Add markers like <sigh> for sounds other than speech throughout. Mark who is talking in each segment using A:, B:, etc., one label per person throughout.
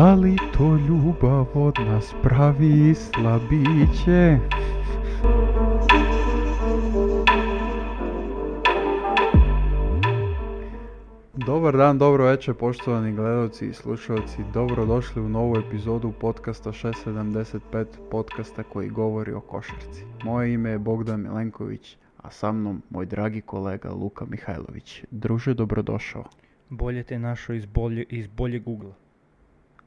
A: Али то љубав од нас прави слабиќе. Добар дан, добро вечер, поштовани гледалци и слушалци. Добро дошли у нову епизоду подкаста 675, подкаста кој говори о кошарци. Моје име е Богдан Миленковиќ, а са мном мој драги колега Лука Михајловиќ. Друже, добродошол.
B: Bolje te našo iz, bolje, iz boljeg ugla.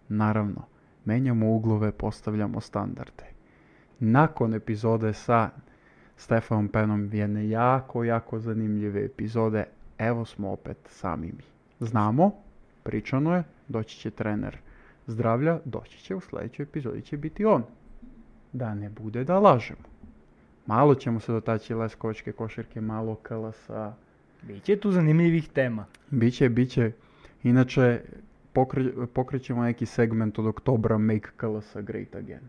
A: Naravno, menjamo uglove, postavljamo standarde. Nakon epizode sa Stefanom Penom jedne jako, jako zanimljive epizode, evo smo opet sami mi. Znamo, pričano je, doći će trener zdravlja, doći će u sljedećoj epizodi će biti on. Da ne bude da lažemo. Malo ćemo se dotaći leskovačke košarke, malo kalasa,
B: Biće tu zanimljivih tema.
A: Biće, biće. Inače, pokre- pokrećemo neki segment od oktobra Make Kalasa Great Again.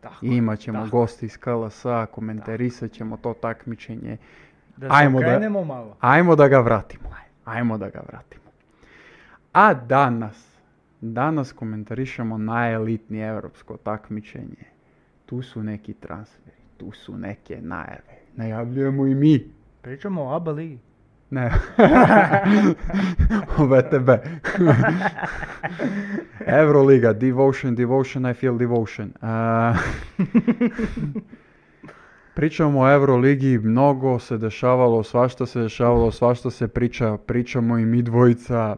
B: Tako.
A: I imat ćemo
B: tako.
A: gosti iz Kalasa, komentarisat ćemo to takmičenje.
B: Da
A: Ajmo
B: se
A: da-
B: okrenemo malo.
A: Ajmo da ga vratimo. Ajmo da ga vratimo. A danas, danas komentarišemo najelitnije evropsko takmičenje. Tu su neki transferi, tu su neke najave. Najavljujemo i mi.
B: Pričamo o ABA ligi.
A: Ne. o VTB. Euroliga, Devotion, Devotion, I feel Devotion. E, A, pričamo o Euroligi, mnogo se dešavalo, svašta se dešavalo, svašta se priča, pričamo i mi dvojica,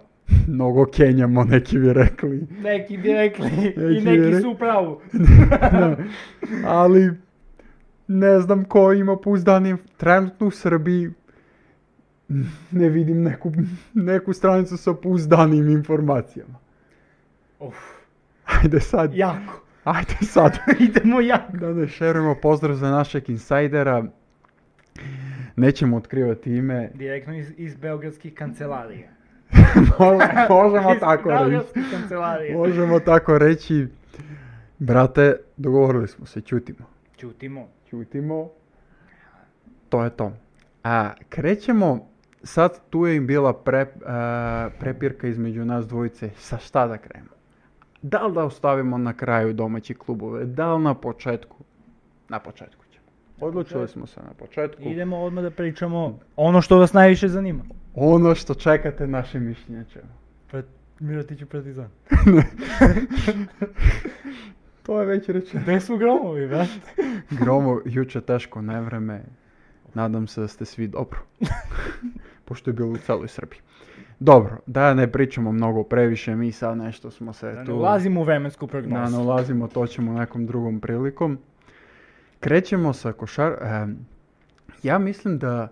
A: mnogo kenjamo, neki bi rekli.
B: Neki bi
A: <laughs>
B: rekli
A: Neki
B: i
A: bi
B: neki
A: rekli.
B: su u pravu.
A: <laughs> Da. Ali ne znam ko ima pouzdanje trenutno u Srbiji ne vidim neku, neku stranicu sa pouzdanim informacijama.
B: <laughs> Uf,
A: Ajde sad,
B: jako. <laughs>
A: ajde sad.
B: Idemo jako.
A: Da ne šerujemo pozdrav za našeg insajdera. Nećemo otkrivati ime.
B: Direktno iz, iz beogradskih kancelarija.
A: Mo- <laughs> Možemo
B: Iz
A: tako reći.
B: beogradskih kancelarija.
A: Možemo tako reći. Brate, dogovorili smo se, čutimo.
B: Ćutimo.
A: Ćutimo. To je to. A, krećemo, sad tu je im bila pre, a, prepirka između nas dvojice, sa šta da krenemo? Da li da ostavimo na kraju domaći klubove, da li na početku? Na početku ćemo. Odlučili
B: početku.
A: smo se na početku.
B: Idemo odmah da pričamo ono što vas najviše zanima.
A: Ono što čekate naše mišljenje ćemo.
B: Pret... Mirotić i Partizan.
A: To je već rečeno.
B: Gde su gromovi, brate?
A: <laughs> Gromo, juče teško nevreme. Nadam se da ste svi
B: <laughs>
A: dobro. Pošto je bilo u celoj Srbiji. Dobro, da ne pričamo mnogo previše, mi sad nešto smo se
B: Da ne
A: tu...
B: ulazimo u vremensku
A: Da ne
B: prognozu.
A: ulazimo, to ćemo nekom drugom prilikom. Krećemo sa košar... em, ja mislim da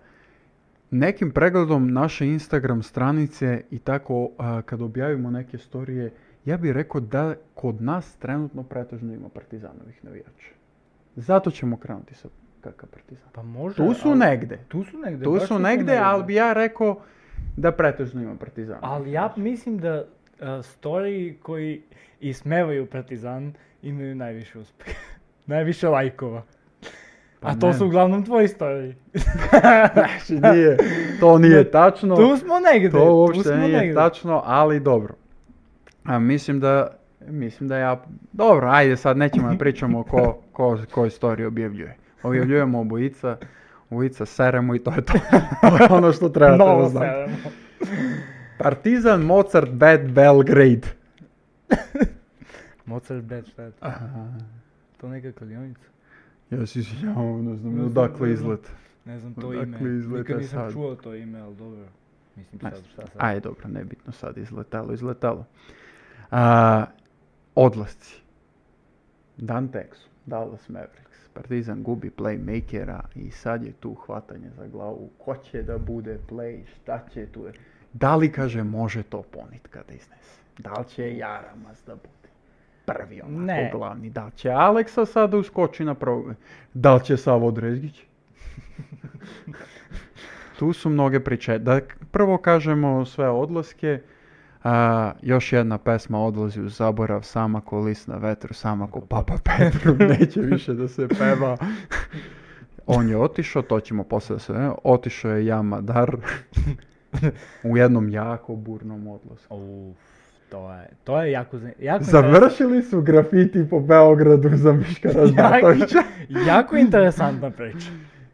A: nekim pregledom naše Instagram stranice i tako a, kad objavimo neke storije, ja bih rekao da kod nas trenutno pretežno ima partizanovih navijača. Zato ćemo krenuti sa KK Partizan.
B: Pa može,
A: Tu su
B: ali-
A: negde.
B: Tu su negde.
A: Tu
B: baš
A: su negde,
B: negde.
A: ali bi ja rekao da pretežno ima partizan.
B: Ali ja mislim da a, storiji koji ismevaju Partizan imaju najviše <laughs> uspeha. najviše lajkova.
A: Pa
B: A to
A: ne.
B: su uglavnom tvoji storiji.
A: <laughs> Znači, nije, to nije tačno.
B: <laughs> tu smo negde.
A: To
B: tu
A: uopšte
B: smo
A: nije
B: negde.
A: tačno, ali dobro. A, mislim da mislim da ja dobro, ajde sad nećemo da pričamo ko ko koju storiju objavljuje. Objavljujemo obojica, obojica seremo i to je to. <laughs> to je ono što trebate da
B: Novo
A: znate.
B: seremo.
A: Partizan Mozart Bad Belgrade.
B: Mozart Bad, šta je to? To neka kladionica.
A: Ja se izvinjavam, ne znam
B: Ne znam,
A: odakle
B: ne znam.
A: izlet.
B: Ne znam to
A: Odakle
B: ime.
A: izleta
B: Nikad nisam
A: sad?
B: čuo to ime, ali dobro. Mislim
A: Ne
B: sad šta sad.
A: Ajde, dobro, nebitno sad izletalo, izletalo. A, odlasci. Dan Texu, Dallas Mavericks. Partizan gubi playmakera i sad je tu hvatanje za glavu. Ko će da bude play, šta će tu je. Da li, kaže, može to ponitka da iznese? Da li će Jaramas da bude prvi onako
B: Ne.
A: glavni? Da li će Aleksa sada uskoči na prvo? Da li će Savo Drezgić? tu su mnoge priče. Da prvo kažemo sve odlaske. A, još jedna pesma odlazi u zaborav, sama ko list na vetru, sama ko Papa Petru, neće više da se peva. On je otišao, to ćemo posle da se... ne, Otišao je Jamadar u jednom jako burnom odlasku.
B: Uf, Тоа е, тоа е јако, зан- јако
A: Завршили су графити по Белграду за <laughs> Мишка Раздатовича.
B: <laughs> Јако, јако интересантна прича.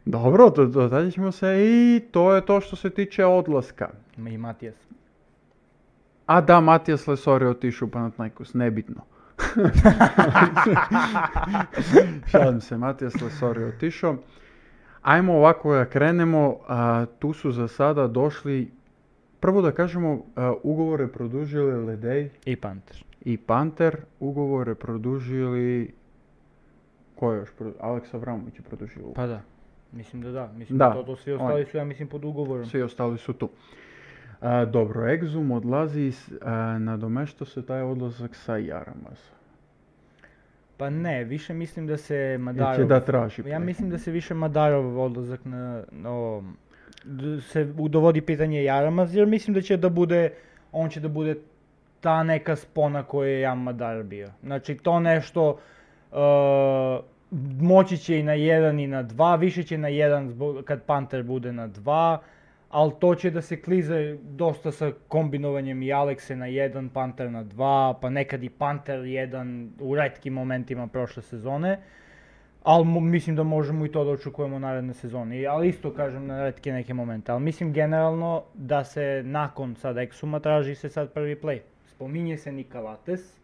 A: Добро, до- додатит ćemo се i to je to što se tiče odlaska.
B: Ма и Матијас.
A: A da, Matijas Lesor je otišao u Panathinaikos, nebitno. Šalim se, Matijas Lesor je otišao. Ajmo ovako da krenemo, a, tu su za sada došli, prvo da kažemo, a, ugovore produžili Ledej
B: И Пантер.
A: i Panter, ugovore produžili, ko je još, produ- Aleks Avramović je produžio ugovor.
B: Па да. Мислим да да. Мислим
A: Да,
B: да. тоа сви
A: он.
B: остави су, ја мислим под уговором.
A: Svi ostali su tu. A, dobro, Exum odlazi, i s- a, nadomešto se taj odlazak sa Jaramaz.
B: Па не, више мислим да се
A: Jer
B: Мадаров.
A: će da traži.
B: Ја мислим да се више Мадаров одлазак на, на овом. Д- се доводи питање Јарамаз, јер мислим да ќе да буде, он ќе да буде таа нека спона која ја Мадар био. Значи, то нешто uh, е, моќи ќе и на еден и на два, више ќе на еден збо- кад Пантер буде на два, ал то ќе да се клиза доста со комбинувањем и Алексе на еден, Пантер на два, па некад и Пантер еден у ретки моментима прошле сезоне. Ал мо- мислим да можемо и тоа да очекуваме наредне сезони. Ал исто кажам на ретки неки моменти, ал мислим генерално да се након сад ексума тражи се сад први плей. Спомиње се Никалатес,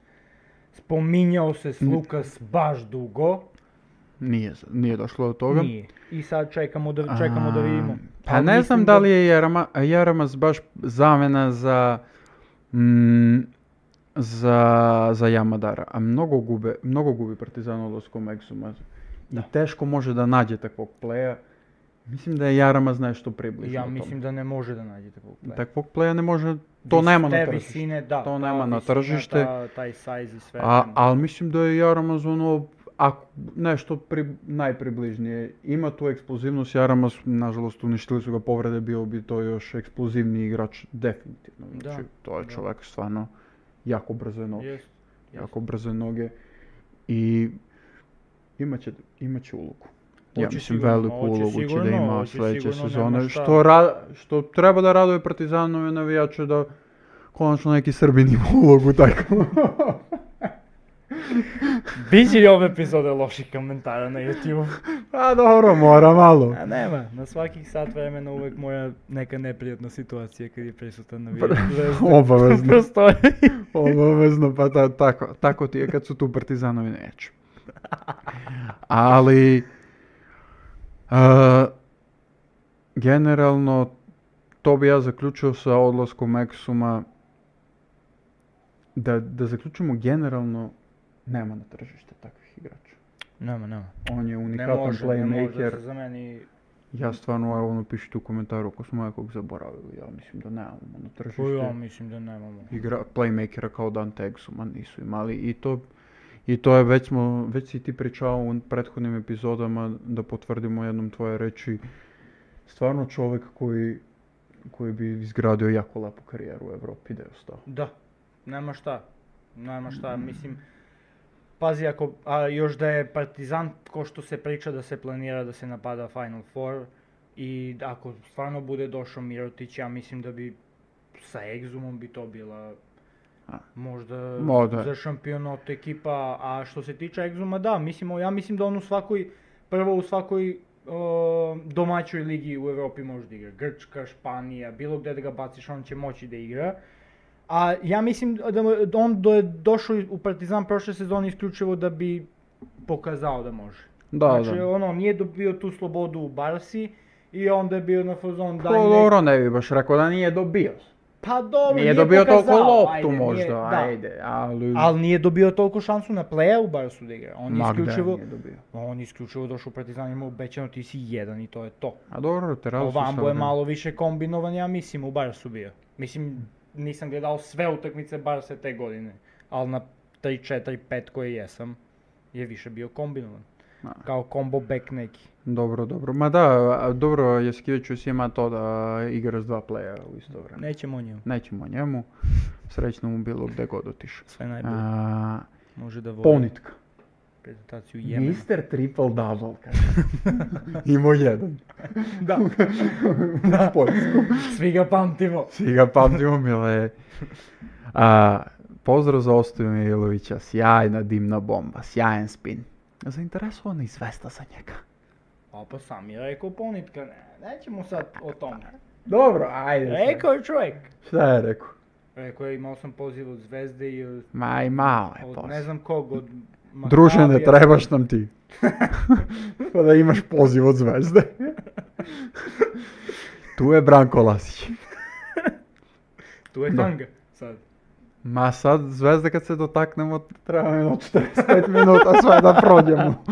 B: спомињао се
A: Н-
B: Слукас баш дуго,
A: Nije, z- nije došlo do toga.
B: Nije. I sad čekamo da, čekamo da
A: A,
B: vidimo.
A: Pa
B: Ali
A: ne
B: mislim
A: znam da li je Jarama, Jaramas baš zamena za, mm, za, za Jamadara. A mnogo, gube, mnogo gubi Partizan odlaskom Exuma. I
B: Da.
A: teško može da nađe takvog pleja. Mislim da je Jaramaz nešto približno
B: Ja
A: tom.
B: mislim da ne može da nađe takvog playa.
A: Takvog pleja ne može, to nema na
B: Te
A: tržištu.
B: visine, da.
A: To
B: ta
A: nema na
B: visina,
A: tržište.
B: ta- taj size i sve.
A: A,
B: nema.
A: ali mislim da je Jaramaz ono, ako, nešto pri, najpribližnije. Ima tu eksplozivnost, Jaramaz, nažalost, uništili su ga povrede, bio bi to još eksplozivni igrač, definitivno.
B: Da,
A: Znači, to je
B: da.
A: čovjek stvarno jako brze noge.
B: Jest, jest.
A: Jako brze noge. I imat će, imat će ulogu. Ja
B: Hoće
A: mislim
B: sigurno,
A: veliku
B: hoće
A: ulogu će da
B: sigurno,
A: ima
B: hoće
A: sljedeće
B: sigurno, nema
A: sezone.
B: šta.
A: Što, ra- što treba da raduje Partizanove navijače da konačno neki Srbin ima ulogu tako.
B: Biće i ove epizode loših komentara na YouTube.
A: A Pa dobro, mora
B: <laughs>
A: malo.
B: A nema, na svakih sat vremena uvek mora neka neprijatna situacija kad je prisutan na video.
A: Obavezno,
B: Prostoji.
A: obavezno, pa ta- tako, tako ti je kad su tu partizanovi neću. Ali, e, generalno, to bi ja zaključio sa odlaskom Eksuma. Da, da zaključimo generalno, nema na tržište takvih igrača.
B: Nema, nema.
A: On je
B: Ne
A: unikatan
B: može, ne može da
A: playmaker.
B: se zameni.
A: Ja stvarno, evo, napišite u komentaru ako smo nekog zaboravili. Ja mislim da nemamo na tržište.
B: Koju ja mislim da nemamo.
A: igra, playmakera kao Dante Exuma nisu imali i to i to je već smo, već si ti pričao u prethodnim epizodama da potvrdimo jednom tvoje reči stvarno čovjek koji koji bi izgradio jako lepu karijeru u Europi da je ostao.
B: Da, nema šta. Nema šta, mislim... Pazi, ako, a, još da je Partizan, ko što se priča da se planira da se napada да Final Four, i da ako stvarno bude došao Mirotić, ja mislim da bi sa Egzumom bi to bila
A: A.
B: možda
A: Ma, da.
B: za šampionat ekipa, a što se tiče Egzuma, da, mislim, ja mislim da on u svakoj, prvo u svakoj o, domaćoj ligi u Evropi može da igra. Grčka, Španija, bilo gde da ga baciš, on će moći da igra. A ja mislim da mu- da on do, došao u Partizan prošle sezone isključivo da bi pokazao da može.
A: Da,
B: znači,
A: da.
B: ono, nije dobio tu slobodu u Barsi i onda je bio na fazon da...
A: Pa dobro, ne bi baš rekao da nije dobio.
B: Pa dobro,
A: Nije dobio
B: pokazao,
A: toliko loptu
B: ajde, nije-
A: možda,
B: da.
A: ajde, ali...
B: Ali nije dobio toliko šansu na pleja u Barsu da igra. On je
A: Ma, gde
B: isključivo...
A: nije dobio.
B: On je isključivo došao u Partizan, imao obećano ti si jedan i to je to.
A: A dobro, terali su
B: Ovambo je
A: sad-
B: malo više kombinovan, ja mislim, u Barsu bio. Mislim, nisam gledao sve utakmice Barse te godine, ali na 3, 4, 5 koje jesam, je više bio kombinovan.
A: Da.
B: Kao combo back neki.
A: Dobro, dobro. Ma da, a, dobro, Jaskivićus ima to da igra s dva pleja u isto vreme.
B: Nećemo o njemu.
A: Nećemo o njemu. Srećno mu bilo gdje god otišao.
B: Sve najbolje.
A: A,
B: Može da voli
A: ponitka.
B: prezentaciju Jemena.
A: Mister triple double. <laughs> Imao jedan.
B: Da,
A: U Poljsku.
B: svi ga pamtimo.
A: Svi ga pamtimo, mile. A, Pozdrav za Ostoju Mijailovića, sjajna dimna bomba, sjajan spin. Заинтересувана и известа за njega.
B: A pa sam je rekao ponitkan, nećemo sad o tome.
A: Dobro, ajde.
B: Rekao je čovjek.
A: Šta je rekao?
B: Rekao je imao sam poziv od Zvezde i od,
A: Ma i malo je
B: od ne
A: poziv.
B: znam kog, od
A: Druže, ne
B: Makabija.
A: trebaš nam <laughs> ti. Pa da imaš poziv od zvezde. tu je Branko Lasić.
B: Tu je
A: Da.
B: Tanga sad.
A: Ma sad, zvezde kad se dotaknemo, treba mi jedno 45 minuta sve da prođemo.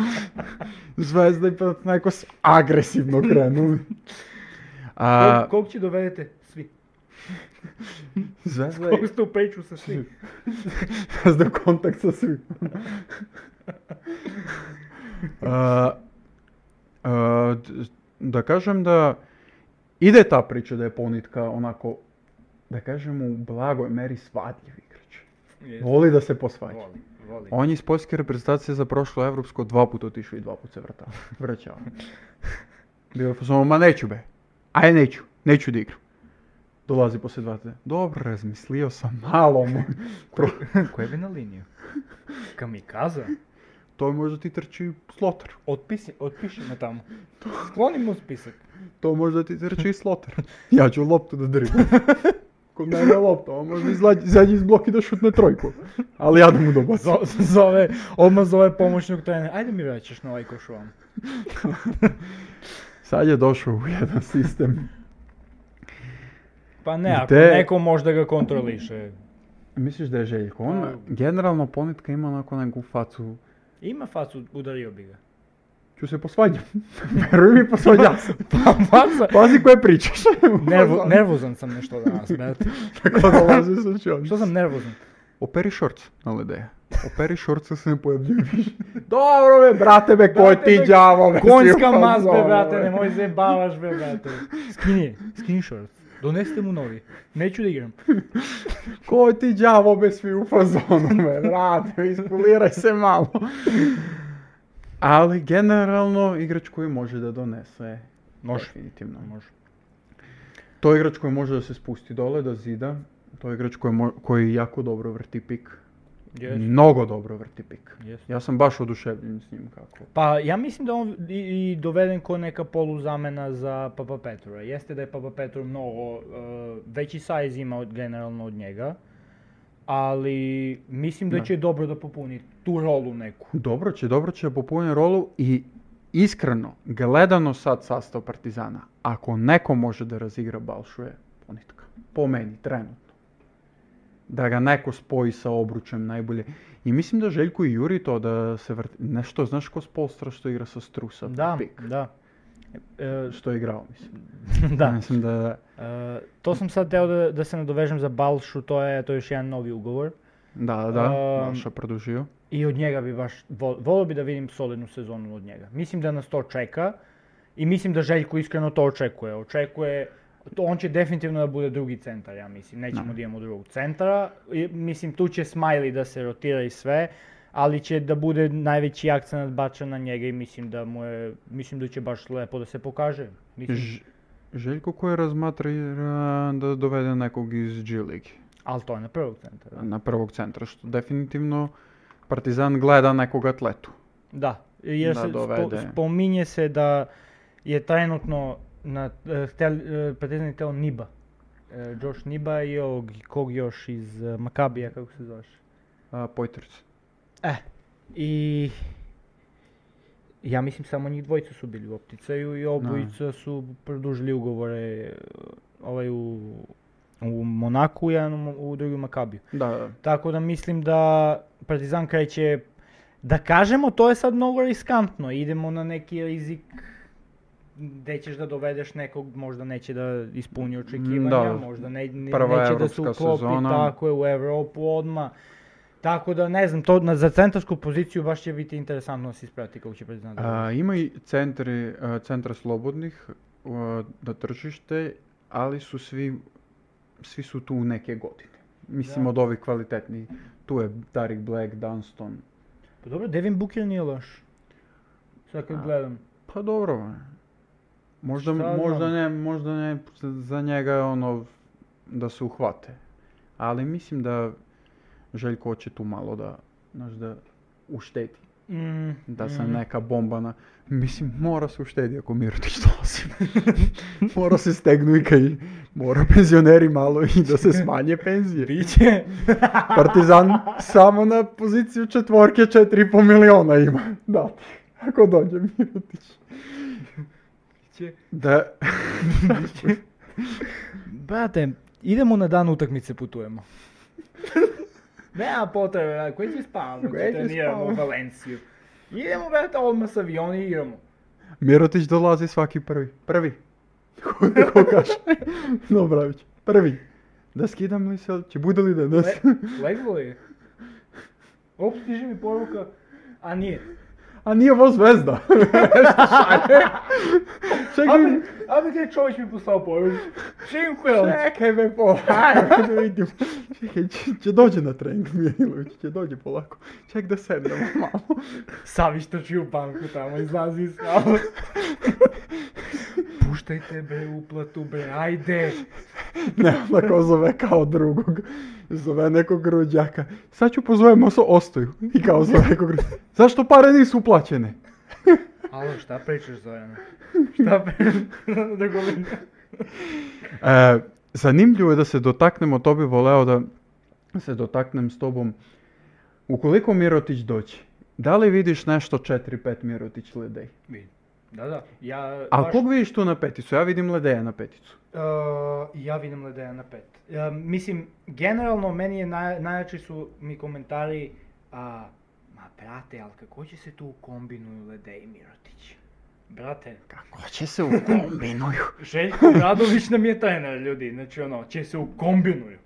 A: zvezda i pa neko s agresivno krenuli. A,
B: Kog, kog će dovedete? Svi. <laughs>
A: zvezda je...
B: Kog ste u peču sa
A: <laughs>
B: svi?
A: Zvezda je u kontakt sa svim. <laughs> A, a, d- da kažem da ide ta priča da je ponitka onako, da kažem u blagoj meri svadljiv igrač.
B: Jeste.
A: Voli da se posvađa.
B: Voli, voli.
A: On je iz poljske reprezentacije za prošlo evropsko dva puta otišao i dva puta se vrata, vraćao. Bio je fazon, ma neću be, aj neću, neću da igram. Dolazi poslije dva tjedna, dobro, razmislio sam malo. moj." <laughs> Pro-
B: <laughs> Ko je bi na liniju? Kamikaza?
A: to je možda ti trči slotar.
B: Otpisi, otpiši me tamo. Skloni mu spisak.
A: To možda ti trči i <laughs> slotar. Ja ću loptu da <laughs> dribam. Kod mene je lopta, on možda izlađi- izađe iz bloka i da šutne trojku. Ali ja da mu dobacim.
B: Zo- zove, odmah zove pomoćnog trenera. Ajde mi vraćaš na ovaj koš ovam.
A: Sad je došao u jedan sistem.
B: Pa ne,
A: I
B: ako
A: te-
B: neko možda ga kontroliše.
A: Misliš da je Željko? On
B: Pa-
A: generalno ponitka ima onako neku facu
B: Ima facu, udario bi <laughs> ga.
A: ću se <laughs> posvađam. Veruj mi, posvađam se.
B: Pa faca...
A: Pazi koje pričaš.
B: Nervo,
A: <laughs>
B: nervozan sam nešto danas, brate.
A: Tako dolazi sa čovjek.
B: Što sam <laughs> nervozan?
A: Operi šorc, na ideja. Operi šorca se ne pojavljuje više. <laughs> Dobro be, brate be, ko
B: Brate,
A: je ti
B: be,
A: đavo? be, si
B: Konjska
A: u
B: mas, be,
A: fazonu,
B: brate,
A: be.
B: nemoj se bavaš, be, brate. Skini, je, skini šorac. Donesite mu novi. Neću da igram.
A: Ko je ti đavo be, svi u fazonu <laughs> be, brate, iskuliraj se malo. Ali generalno igrač koji može da donese.
B: Može.
A: Definitivno.
B: Može.
A: To je igrač koji može da se spusti dole, da zida. To je igrač koji, mo- koji jako dobro vrti pik.
B: Yes.
A: Mnogo dobro vrti pik.
B: Yes.
A: Ja sam baš oduševljen s njim kako.
B: Pa ja mislim da on i, i doveden ko neka poluzamena za Papa Petrova. Jeste da je Papa Petrov mnogo e, veći size ima od, generalno od njega, ali mislim da
A: Da.
B: će dobro da popuni tu rolu neku.
A: Dobro će, dobro će da popuni rolu i iskreno, gledano sad sastav Partizana, ako neko može da razigra Balšu je ponitka. Po meni, trenutno. Da ga neko spoji sa obručem najbolje. I mislim da Željko i Juri to da se vrti... Nešto, znaš ko Spolstra što igra sa strusa?
B: Da,
A: pik.
B: da. E,
A: Što je igrao, mislim.
B: <laughs> da.
A: Mislim da...
B: E, to sam sad teo da, da se nadovežem za Balšu, to je, to je još jedan novi ugovor.
A: Da, da, da.
B: Ehm,
A: Balša produžio.
B: I od njega bi baš, vol, volio bi da vidim solidnu sezonu od njega. Mislim da nas to čeka i mislim da Željko iskreno to očekuje. Očekuje, to, on će definitivno da bude drugi centar, ja mislim. Nećemo
A: Da.
B: da imamo drugog centara. I, mislim, tu će Smiley da se rotira i sve, ali će da bude najveći akcent bačen na njega i mislim da mu je, mislim da će baš lepo da se pokaže. Mislim,
A: Ž- Željko koji razmatra da dovede nekog iz G Ligi
B: ali to je na prvog centara.
A: na prvog centra, što definitivno Partizan gleda nekog atletu.
B: Da, jer
A: Da
B: se spo-
A: dovede.
B: spominje se da je trenutno na e, tel, e, pretezni teo Niba. E, Josh Niba i ovog, kog još iz e, Makabija, kako se zoveš.
A: A, Pojtrc.
B: E, i ja mislim samo njih dvojica su bili u opticaju i obojica su produžili ugovore e, ovaj u, u Monaku, jedan u, Mo- u drugi u Makabiju.
A: Da, da.
B: Tako da mislim da Partizan kreće, da kažemo, to je sad mnogo riskantno. Idemo na neki rizik gde ćeš da dovedeš nekog, možda neće da ispuni očekivanja,
A: da.
B: možda ne, ne-
A: Prva
B: neće da se
A: evropska
B: uklopi
A: sezona.
B: tako je u Evropu odmah. Tako da ne znam, to na, za centarsku poziciju baš će biti interesantno da se isprati kako će Partizan da
A: A, ima i centri, a, centra slobodnih a, na tržište, ali su svi, svi su tu neke godine. Mislim
B: Da.
A: od ovih kvalitetnih. Tu je Tarik Black, Dunston.
B: Pa dobro, Devin Booker nije loš. Sad kad
A: A,
B: gledam.
A: Pa dobro. ma. Možda,
B: Šta ja
A: možda,
B: znam?
A: ne, možda ne za njega je ono da se uhvate. Ali mislim da Željko hoće tu malo da, znaš, da ušteti.
B: Mm,
A: Da se
B: mm.
A: neka bomba na... Mislim, mora se uštedi ako Mirotić dolazi. <laughs> mora se stegnu i kaj mora penzioneri malo i da se smanje penzije.
B: Biće.
A: Partizan samo na poziciju četvorke 4,5 miliona ima. Da, ako dođe Mirotić.
B: Biće.
A: Da,
B: Брате, идемо на дан утакмица путуемо. Нема потреба, брат, кој ќе
A: Кој
B: спаваме,
A: ќе
B: кој тренираме во
A: спаваме?
B: Валенсију. Идемо, брате, одма с авион и играмо.
A: Mirotić dolazi svaki prvi. <laughs> Prvi. Ko, ko kaže? Dobravić. Prvi. Da skidam li se, će bude li danas?
B: Ле- Легло е. Оп, стиже ми порука. А ние.
A: A nije ovo zvezda. Šta šalje?
B: Абе,
A: Čekaj,
B: абе, кај човеч ми послал порука. Шим Хвелч.
A: čekaj me polako da vidim. Čekaj, će, će dođe na trening Mijailović, će dođe polako. Ček da sednemo malo.
B: Савиш трчи у банку тамо, излази
A: <laughs>
B: из сала. Пуштајте бе уплату бе, ајде.
A: Ne, onako zove kao drugog. Zove nekog rođaka. Sad ću pozovemo sa Ostoju. I kao zove nekog rođaka. Zašto pare nisu uplaćene?
B: Ало, шта пречеш, Зоране? Шта пречеш? да го видим.
A: E, zanimljivo je da se dotaknemo, to bi voleo da se dotaknem s tobom. Ukoliko Mirotić dođe, da li vidiš nešto 4-5 Mirotić ledej?
B: Види. Да, да. Ја
A: A kog vidiš tu na peticu? Ja vidim ledeja na peticu.
B: Uh, ја видам Ледеја на пет. Uh, мислим, генерално мене е нај, најачи су ми коментари а, ма брате, ал како ќе се ту комбинују Ледеј и Миротиќ? Брате,
A: Kako će se ukombinuju?
B: Željko Radović nam je trener, ljudi. Znači, ono, će se ukombinuju.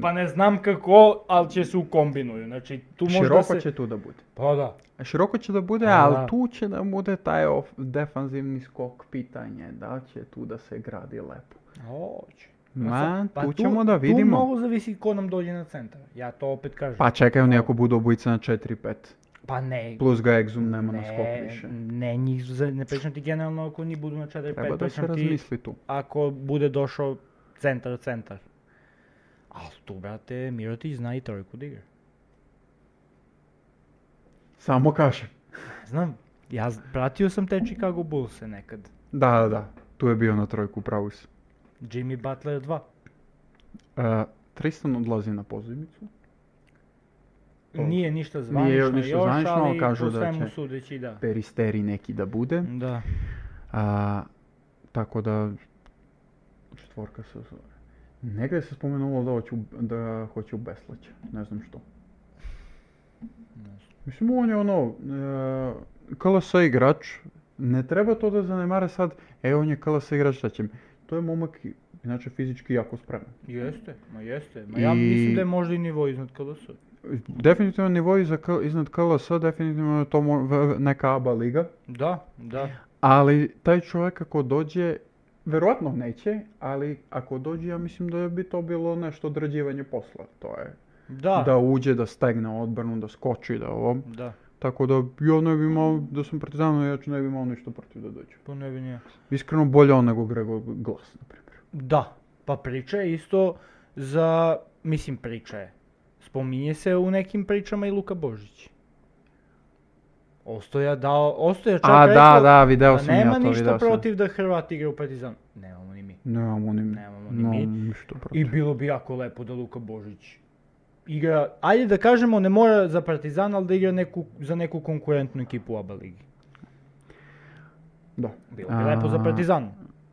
B: Pa ne znam kako, ali će se ukombinuju. Znači, tu možda
A: Široko
B: se...
A: će <laughs> tu da bude.
B: Pa da.
A: Široko će da bude,
B: Pa da.
A: ali tu će da bude taj of- defanzivni skok pitanje. Da li će tu da se gradi lepo?
B: Oće. Pa
A: Ma, tu ćemo da vidimo.
B: Tu mnogo zavisi ko nam dođe na centar. Ja to opet kažem.
A: Pa čekaj, oni ako budu obojica na 4-5.
B: Pa ne.
A: Plus ga egzum nema na skok
B: Ne,
A: više.
B: ne, njih, za- ne pričam ti generalno ako ni budu na 4-5,
A: Treba da se
B: pričam ti
A: razmisli tu.
B: ako bude došao centar, centar. Ali tu, brate, Mirotić zna i trojku da igra.
A: Samo kažem.
B: Znam, ja z- pratio sam te Chicago Bullse nekad.
A: Da, da, da. Tu je bio na trojku, pravu si.
B: Jimmy Butler 2.
A: E, Tristan odlazi na pozivnicu. To.
B: Nije ništa zvanično
A: ništa
B: još,
A: zvanično, ali
B: ali
A: kažu
B: po
A: da
B: svemu
A: će.
B: sudeći da.
A: Peristeri neki da bude.
B: Da.
A: A, tako da... Četvorka se zove. Negde se spomenulo da hoću, da hoću Beslaća. Ne znam što. Mislim, on je ono... E, KLS igrač. Ne treba to da zanemare sad. E, on je KLS igrač, šta će mi? To je momak, i- inače fizički jako spreman.
B: Jeste, ma jeste. Ma ja mislim
A: I-
B: da je možda i nivo iznad KLS.
A: Definitivno nivo iza, K- iznad KLS, definitivno je to mo- v- v- neka ABA liga.
B: Da, da.
A: Ali taj čovjek ako dođe, verovatno neće, ali ako dođe ja mislim da bi to bilo nešto odrađivanje posla. To je
B: Da.
A: da uđe, da stegne odbranu, da skoči, da ovo.
B: Da.
A: Tako da ja ne bi imao, da sam partizan, ja ću ne bi imao ništa protiv da dođe.
B: Pa ne bi nije.
A: Iskreno bolje on nego Gregor Glas, na primjer.
B: Da, pa priča je isto za, mislim priča je. Spominje se u nekim pričama i Luka Božić. Ostoja dao, Ostoja čak
A: A
B: rekao,
A: da, da, video
B: "Pa
A: sam ja
B: nema
A: to,
B: ništa
A: video sam.
B: protiv da Hrvat igra u Partizan. Nemamo ni mi.
A: Nemamo ni mi.
B: Nemamo ni mi.
A: Nemamo ništa protiv.
B: I bilo bi jako lepo da Luka Božić igra, ajde da kažemo, ne mora za Partizan, ali da igra neku, za neku konkurentnu ekipu u ABA ligi.
A: Da.
B: Bilo bi lepo za
A: A,
B: Partizan.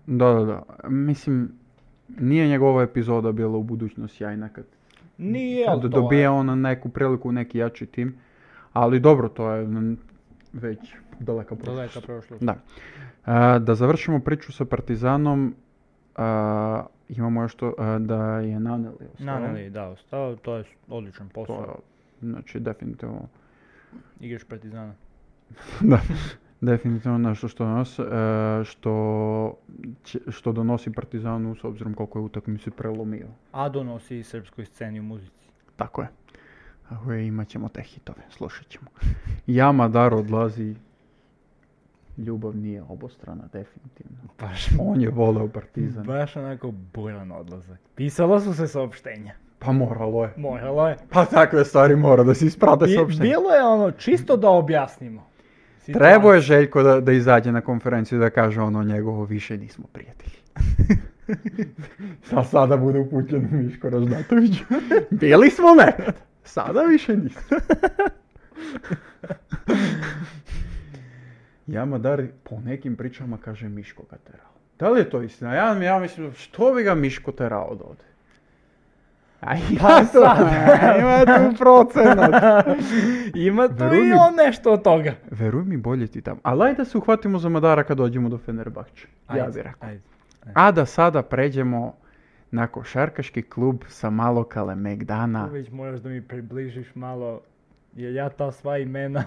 A: Da, da, da. Mislim, nije njegova epizoda bila u budućnost sjajna kad
B: Nije,
A: kad
B: ali to
A: dobije
B: je.
A: on neku priliku, neki jači tim. Ali dobro, to je mm, već daleka prošlost.
B: Daleka prošlost.
A: Da. A, da završimo priču sa Partizanom. A, imamo još to a, da je Naneli ostao.
B: Naneli, da, ostao, to je odličan
A: To
B: posao.
A: je, znači, definitivno, <laughs>
B: Igraš Partizana.
A: da, definitivno nešto što, nas, e, što, će- što donosi Partizanu s obzirom koliko je utakmicu prelomio.
B: A donosi i srpskoj sceni u muzici.
A: Tako je. Ako je, imat ćemo te hitove, slušat ćemo. Jama dar odlazi, ljubav nije obostrana, definitivno.
B: Baš <laughs>
A: On je voleo Partizan.
B: Baš onako buran odlazak. Pisalo su se saopštenja.
A: Pa moralo je.
B: Moralo je.
A: Pa takve stvari mora da se isprate
B: I,
A: saopštenje.
B: bilo je ono čisto da objasnimo.
A: Trebao je Željko da, da izađe na konferenciju i da kaže ono njegovo više nismo
B: <laughs>
A: prijatelji. Sa sada bude upućen Miško Raždatović. <laughs> Bili smo nekad, sada više nismo.
B: <laughs>
A: ja Madar po nekim pričama kaže Miško ga terao. Da li je to istina? Ja, ja mislim, što bi ga Miško terao od ovde? A ima
B: Pa
A: tu,
B: sad.
A: <laughs> ima tu procenat.
B: Ima tu
A: Veruj
B: i
A: mi.
B: on nešto od toga.
A: Veruj mi, bolje ti tamo. Ali ajde da se uhvatimo za Madara kad dođemo do Fenerbahče. Ja bih rekao.
B: Ajde.
A: A da sada pređemo na košarkaški klub sa malo Kalemegdana.
B: Tu već moraš da mi približiš malo, jer ja ta sva imena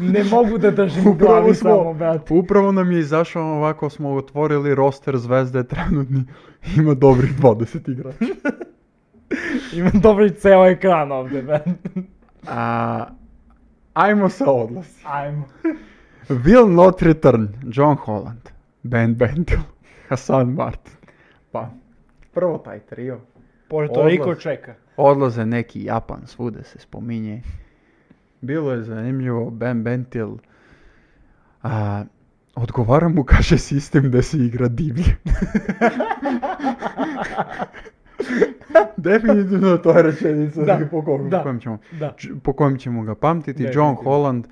B: ne mogu da držim u glavi samo, brate.
A: upravo nam je izašao ovako, smo otvorili roster zvezde trenutni. <laughs> Ima dobrih 20 igrača.
B: Imam dobri ceo ekran ovde, brate.
A: A, ajmo sa odlasci.
B: Ajmo.
A: Will not return. John Holland. Ben Bentil. Hasan Martin. Pa, prvo taj trio.
B: Porto
A: Odlaz.
B: Riko čeka.
A: Odlaze neki Japan, svude se spominje. Bilo je zanimljivo, Ben Bentil. A, odgovara mu, kaže sistem da se igra
B: <laughs>
A: divlje. Definitivno to je rečenica
B: Da,
A: po, ko-
B: da,
A: kojem ćemo,
B: da.
A: č- po kojem ćemo ga pamtiti. John
B: Definitivno.
A: Holland,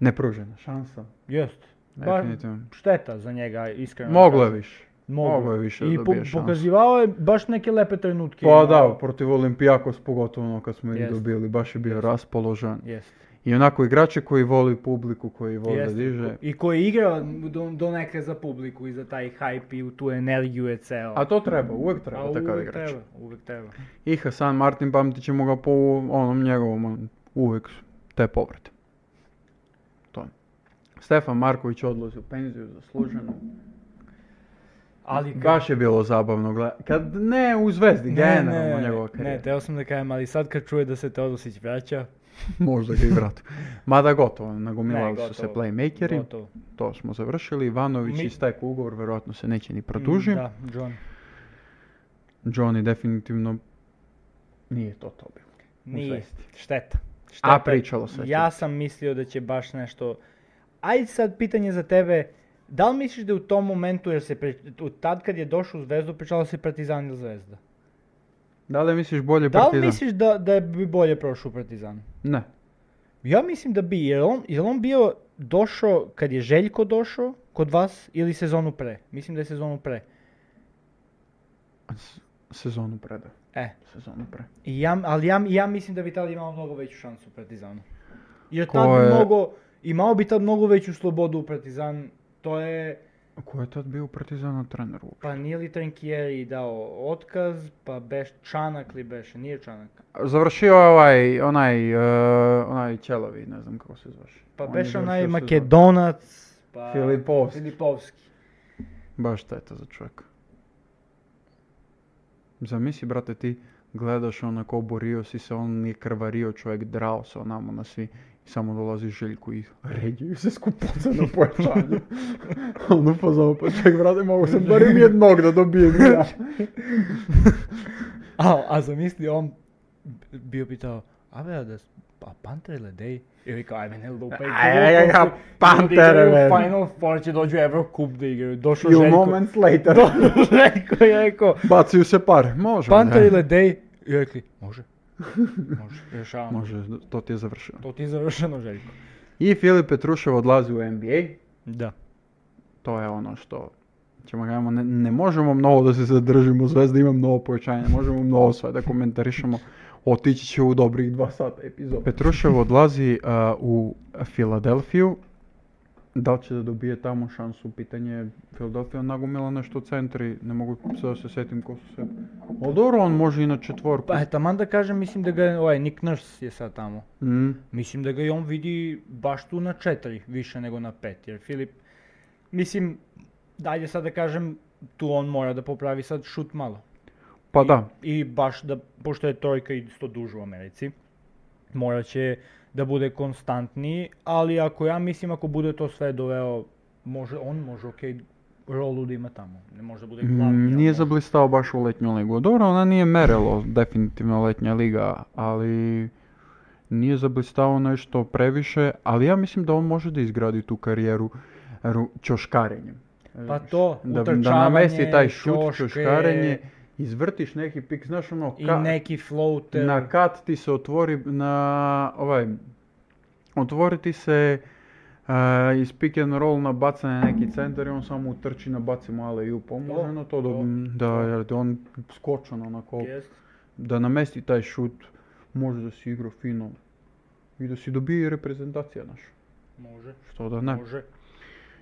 A: nepružena šansa.
B: Jest. Bar
A: Definitivno.
B: šteta za njega, iskreno.
A: Moglo je
B: kažem.
A: više. moglo je više da
B: I
A: dobije šansu.
B: pokazivao je baš neke lepe trenutke.
A: Pa
B: imao.
A: da, protiv Olimpijakos pogotovo ono kad smo ih
B: Jeste.
A: dobili, baš je bio
B: Jeste.
A: raspoložen.
B: Jest.
A: I onako igrače koji voli publiku, koji voli da
B: Jeste.
A: diže.
B: I koji je igrao do, do neke za publiku i za taj hype i u tu energiju je ceo.
A: A to treba, uvek
B: A
A: treba takav
B: uvek
A: igrač.
B: treba, uvek treba.
A: I Hasan Martin pamtit ćemo ga po onom njegovom, on, uvek te povrede. To. Stefan Marković odlazi u penziju zasluženo.
B: Ali kad-
A: Baš je bilo zabavno gledati. Kad ne u Zvezdi, generalno njegova
B: ne, ne,
A: karijera.
B: teo sam da kažem, ali sad kad čuje da se Teodosić vraća,
A: <laughs> Možda ga i vrati. Mada gotovo,
B: Ne,
A: nagomilali su se
B: gotovo,
A: playmakeri.
B: gotovo.
A: To smo završili. Ivanović
B: Mi-
A: istekao ugovor, vjerojatno se neće ni produži.
B: Mm, Da, John.
A: Johnny definitivno nije to to bilo.
B: Nije.
A: Zvezdi.
B: Šteta. Šteta.
A: A pričalo se. o
B: Ja sam mislio da će baš nešto... Ajde sad pitanje za tebe. Da li misliš da je u tom momentu, jer se pre... od tad kad je došao u Zvezdu, pričalo se Partizan ili Zvezda?
A: tome. Da li misliš bolje
B: Da li
A: Partizan?
B: misliš da, da bi bolje prošao u Partizan?
A: Ne.
B: Ja mislim da bi, jer on, jer on bio došao kad je Željko došao kod vas ili sezonu pre. Mislim da je sezonu pre.
A: S- Sezonu pre, da.
B: E,
A: Sezonu pre.
B: I ja, ali ja, ja mislim da bi tad imao mnogo veću šansu u Partizanu. Jer
A: Ko
B: tad bi
A: je-
B: mnogo, imao bi tad mnogo veću slobodu u Partizan. To je,
A: Ko je tad bio u Partizanu trener uopšte?
B: pa nije li Trinkieri dao otkaz, pa beš Čanak li beše, nije Čanak.
A: Završio je ovaj, onaj, e, onaj Ćelavi, ne znam kako se zvaš.
B: Pa
A: On je
B: beš
A: završio
B: onaj
A: sezonu.
B: Makedonac, pa
A: Filipovski.
B: Filipovski.
A: Baš šteta za čovjeka. Zamisli, brate, ti gledaš onako borio si se, on nije krvario čovjek, drao se onamo na svi. I samo dolazi Željko i ređuju se skupoca na pojačanju. <laughs> ono pa zove, pa ček, brate, mogu sam barem jednog da dobijem. <laughs> ja.
B: A, a zamisli on bio pitao, a be, da, pa Panter ili Dej? I rekao, ajme ne lupaj.
A: Aj, aj, aj,
B: gluposti,
A: Panter,
B: ljudi igraju
A: bre.
B: Final Four će dođu u Eurocup da igraju. Došao
A: Few
B: Željko. <laughs>
A: moments <laughs> later.
B: Željko je rekao,
A: Bacaju se pare, može.
B: Panter
A: ne.
B: ili Dej? I rekli, može. <laughs> Može, rješavamo.
A: Može, to ti je završeno.
B: To ti je završeno, Željko.
A: I Filip Petrušev odlazi u NBA.
B: Da.
A: to je ono što ćemo gledamo, ne, ne možemo mnogo da se zadržimo, Zvezda ima mnogo povećanja, ne možemo <laughs> mnogo sve da komentarišemo, otići će u dobrih dva sata epizoda. Petrušev odlazi a, u Filadelfiju, da li će da dobije tamo šansu, pitanje je, Filadelfija nagomila nešto centri, ne mogu se da se setim ko su sve. Ali dobro, on može i na četvorku.
B: Pa je taman da kažem, mislim da ga je, ovaj, Nick Nurse je sad tamo.
A: Mm.
B: Mislim da ga i on vidi baš tu na četiri, više nego na pet, jer Filip, mislim, dalje sad da kažem, tu on mora da popravi sad šut malo.
A: Pa
B: I-
A: da,
B: I baš da, pošto je trojka isto duža u Americi, morat će da bude konstantniji, ali ako ja mislim ako bude to sve doveo, može, on može ok rolu da ima tamo. Ne može da bude
A: Mm,
B: glavni. ali ono.
A: Nije
B: može.
A: zablistao baš u letnju ligu. Dobro, ona nije merilo, definitivno letnja liga, ali nije zablistao nešto previše, ali ja mislim da on može da izgradi tu karijeru ru- ćoškarenjem.
B: Pa
A: Znaš,
B: to,
A: da, da
B: utrčavanje,
A: namesti taj šut,
B: ćoške
A: ćoškarenje, izvrtiš neki pik, znaš ono,
B: I
A: ka-
B: neki floater.
A: na kat ti se otvori, na ovaj, otvori ti se e, iz pick and roll na bacanje neki centar i on samo utrči na baci male i upomoženo to,
B: to,
A: da, da jer ti on skočan onako,
B: Jest.
A: da namesti taj šut, može da si igra fino i da si dobije i reprezentacija naša.
B: Može.
A: Što da ne,
B: Može.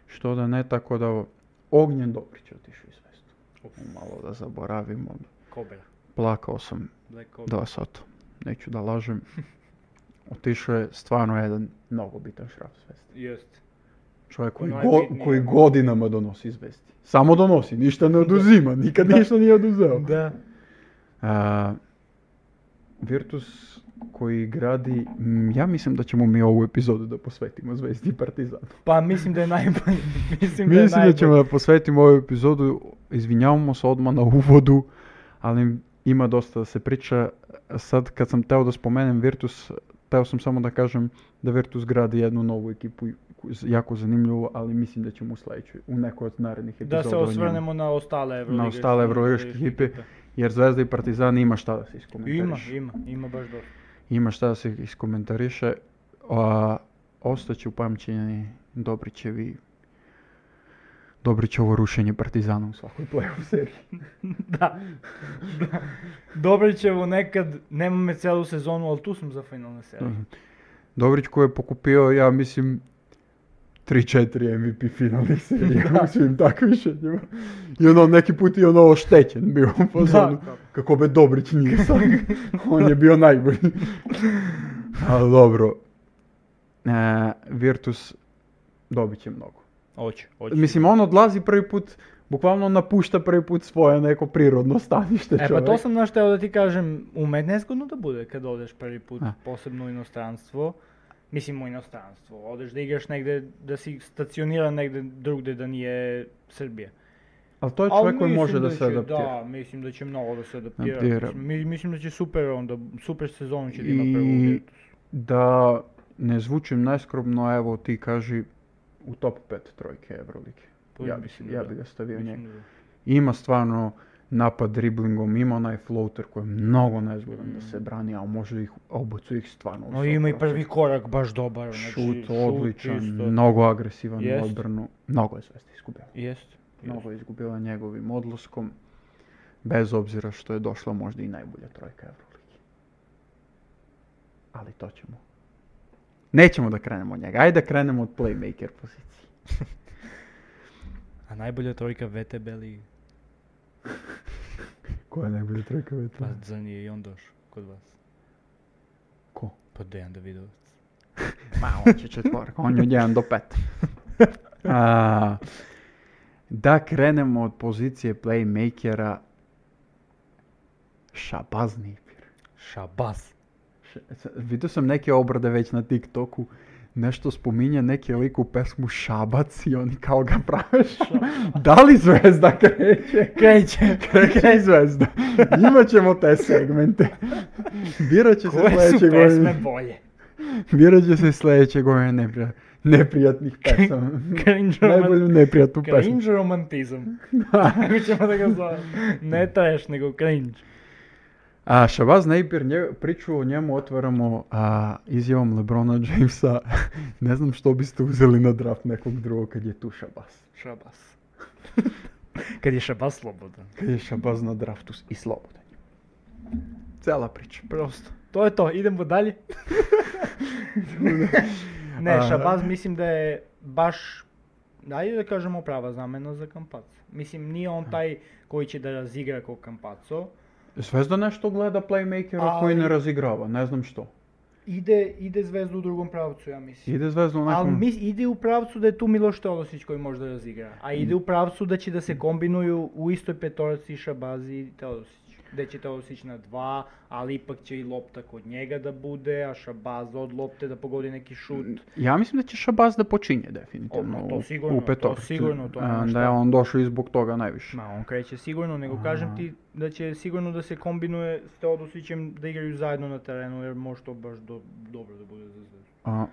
A: što da ne, tako da Ognjen Dobrić je otišao iz Vestu. Malo da zaboravimo,
B: Kobra.
A: plakao sam
B: Black Kobra.
A: Dva sata. Neću da lažem. Otišao je stvarno jedan mnogo bitan šraf svesti.
B: Jest.
A: Čovjek
B: Koji
A: koji,
B: je
A: go-
B: najbitniji.
A: koji godinama donosi zvesti. Samo donosi, ništa ne oduzima, nikad ništa nije oduzeo.
B: Da.
A: A, Virtus koji gradi, mm, ja mislim da ćemo mi ovu epizodu da posvetimo Zvezdi i Partizanu.
B: Pa mislim da je najbolji. <laughs> mislim da je
A: Mislim da
B: najbolji.
A: ćemo da posvetimo ovu epizodu, izvinjavamo se odmah na uvodu, ali ima dosta da se priča. Sad kad sam teo da spomenem Virtus, teo sam samo da kažem da Virtus gradi jednu novu ekipu, jako zanimljivu, ali mislim da ćemo u sledećoj, u nekoj od narednih epizoda.
B: Da se
A: o njemu.
B: osvrnemo na ostale evroligaške
A: ostale evroligaške
B: да
A: ekipe. Jer Zvezda i Partizan ima šta da se
B: Ima,
A: iskomentariše.
B: ima, ima baš dosta. <laughs>
A: Ima šta da se iskomentariše. A, ostaće upamćeni Dobrićevi Dobrićevo rušenje Partizana u svakoj play-off seriji.
B: da. da. Dobrićevo nekad, nemаме целу sezonu, ali tu sam za finalne serije.
A: Mhm. Dobrić koji je pokupio, ja mislim, 3-4 MVP finalnih serija u svim takmičenjima. I ono, neki put i ono oštećen bio u fazonu. Kako be Dobrić nije sad. On je bio najbolji. <laughs> Ali dobro. E, Virtus dobit će mnogo.
B: Oće, oće.
A: Mislim, on odlazi prvi put, bukvalno napušta prvi put svoje neko prirodno stanište
B: Е, па
A: čovek.
B: то сам наш да ти кажем, у мен незгодно да буде кога одеш први пут,
A: А.
B: посебно у иностранство. Мислим у иностранство. Одеш да играш негде, да си стациониран негде другде да ни е Србија.
A: Ali to je
B: Ал
A: čovjek koji
B: мислим
A: може da
B: ќе-
A: se adatira.
B: Да, мислим да ќе многу да се адаптира.
A: Адаптира.
B: Мислим- Ми, мислим да ќе супер он, да супер сезон ќе да има прво. у
A: I
B: Виртус.
A: da ne zvučim najskromno, evo ti kaži u top 5 trojke Eurolike.
B: Па
A: Ja,
B: мислим
A: bi,
B: да
A: ja
B: да.
A: bi ga stavio
B: Мислим
A: njega.
B: да да.
A: Ima stvarno napad driblingom, ima onaj floater koji je mnogo nezgodan da se brani, a može ih obocu ih stvarno.
B: Но
A: visoko
B: има и
A: prosječni.
B: први корак баш добар. значи,
A: znači, Šut odličan,
B: чисто.
A: mnogo agresivan u
B: Jest.
A: odbranu. Mnogo je Zvezda izgubila.
B: Јест. јест.
A: Mnogo je izgubila njegovim odlaskom. Bez obzira što je došla možda i najbolja trojka Euroligi. Ali to ćemo. Nećemo da krenemo od njega. Ajde da krenemo od playmaker pozicije.
B: А најболја тројка ВТБ лига.
A: Koja je najbolja trojka
B: Па за ние и он дош код вас.
A: Ko?
B: Па Дејан Давидовец.
A: Ma, on će četvorka, on je od 1 do <laughs> 5. A, da krenemo od pozicije playmakera Šabaz Nipir.
B: Шабас.
A: Š- s- Vidio sam neke obrade već na TikToku, nešto spominje neki lik u pesmu Šabac i oni kao ga prave ša- Da li zvezda kreće?
B: Креќе.
A: Kreće zvezda. Imaćemo te segmente. Birat će se sljedeće godine.
B: боље?
A: Birat će se sljedeće godine nepri- neprijatnih pesama.
B: Кринж
A: Najbolju
B: романтизам.
A: neprijatnu pesmu.
B: Кринж романтизам. Како
A: <laughs>
B: ќемо да го зовеме? Не треш, него кринж.
A: A Šabaz Napier, nje- priču o njemu otvaramo a, izjavom Lebrona Jamesa. <laughs> ne znam što biste uzeli na draft nekog drugog kad je tu Šabaz. <laughs>
B: Шабас. Каде е Шабас слободен.
A: Kad je Šabaz na draftu i slobodan. Cela
B: <laughs>
A: priča.
B: Просто. Тоа е тоа, идемо дали. Не,
A: А.
B: Шабаз мислим да е баш Ајде да кажемо права замена за Кампацо. Мислим, ние он тај кој ќе да разигра кој Кампацо.
A: Zvezda nešto gleda playmakera koji
B: Ali-
A: ne razigrava, ne znam što.
B: Иде, иде Звезда у другом правцу, ја мислим.
A: Ide Zvezda u
B: Ali
A: nekom...
B: mis, ide u pravcu da je tu Miloš Teodosić koji može da razigra. A ide u pravcu da će da se kombinuju u istoj petorci Šabazi i Teodosić. де ќе тоа сич на два, али ипак ќе и лопта код njega да буде, а Шабаз од лопте да погоди неки шут.
A: Ja mislim da će Šabaz da počinje definitivno
B: Odmah, to
A: u-
B: sigurno,
A: u
B: to
A: petorci.
B: sigurno, to
A: E,
B: nema
A: Da
B: šta.
A: je on došao i zbog toga najviše.
B: Ма, он креće сигурно, него кажам ти да ќе сигурно да се комбинуе с тоа да сичем да играју заедно на терену, јер може тоа баш до, добро да буде за <laughs> Зvezdu.
A: A,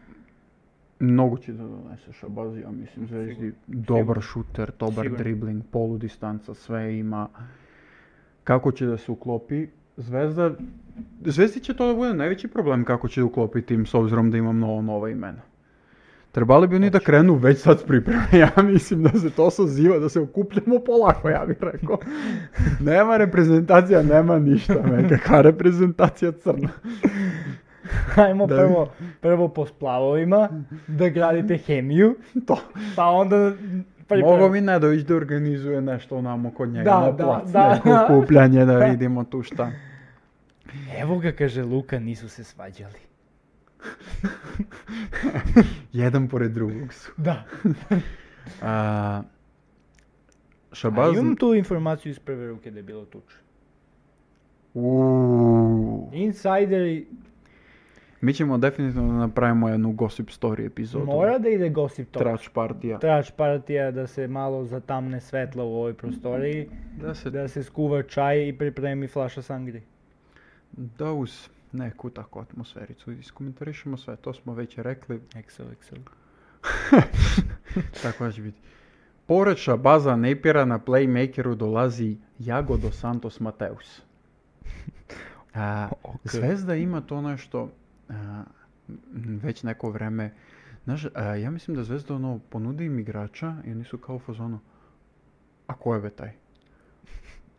A: mnogo će da donese Šabaz, ja mislim, Zvezdi.
B: Sigurno.
A: Dobar šuter, dobar
B: Sigurno.
A: dribling, polu distanca, sve ima. Kako će da se uklopi? Zvezda, Zvezdi će to da bude najveći problem kako će uklopiti tim s obzirom da ima mnogo nova imena. Trebali bi oni da krenu već sad s pripreme. <laughs> Ja mislim da se to saziva, da se okupljamo polako, ja bih
B: <laughs>
A: rekao. Nema reprezentacija, nema ništa. Me, kakva reprezentacija crna. <laughs>
B: Хајмо
A: Да.
B: прво, прво по сплавовима, да градите хемију,
A: To.
B: па онда
A: Mogo mi Nedović da organizuje nešto onamo kod njega
B: Da,
A: na
B: da,
A: plac,
B: da.
A: neko okupljanje
B: <laughs>
A: da vidimo tu šta.
B: Evo ga каже Лука, нису се сваѓали.
A: Jedan pored drugog su.
B: Да.
A: A, Šabaz...
B: А имам ту информацију из прве руке да е било туче.
A: Uuu.
B: Инсайдери
A: Mi ćemo definitivno da napravimo jednu gossip story epizodu.
B: мора да иде госип тоа.
A: Trač partija.
B: Траш партија да се мало затамне светло у овој простории,
A: Da se...
B: да се скува чај и припреми флаша сангри.
A: Da uz neku takvu atmosfericu iskomentarišemo sve, to smo već rekli,
B: Excel, Excel.
A: Tako će biti. Pored Šabaza Nepira na playmakeru dolazi Jago dos Santos Mateus. A,
B: Ok.
A: Zvezda ima to nešto a, m, već neko vreme. Znaš, a, ja mislim da Zvezda ono, ponudi im igrača i oni su kao u fazonu. A ko je be taj?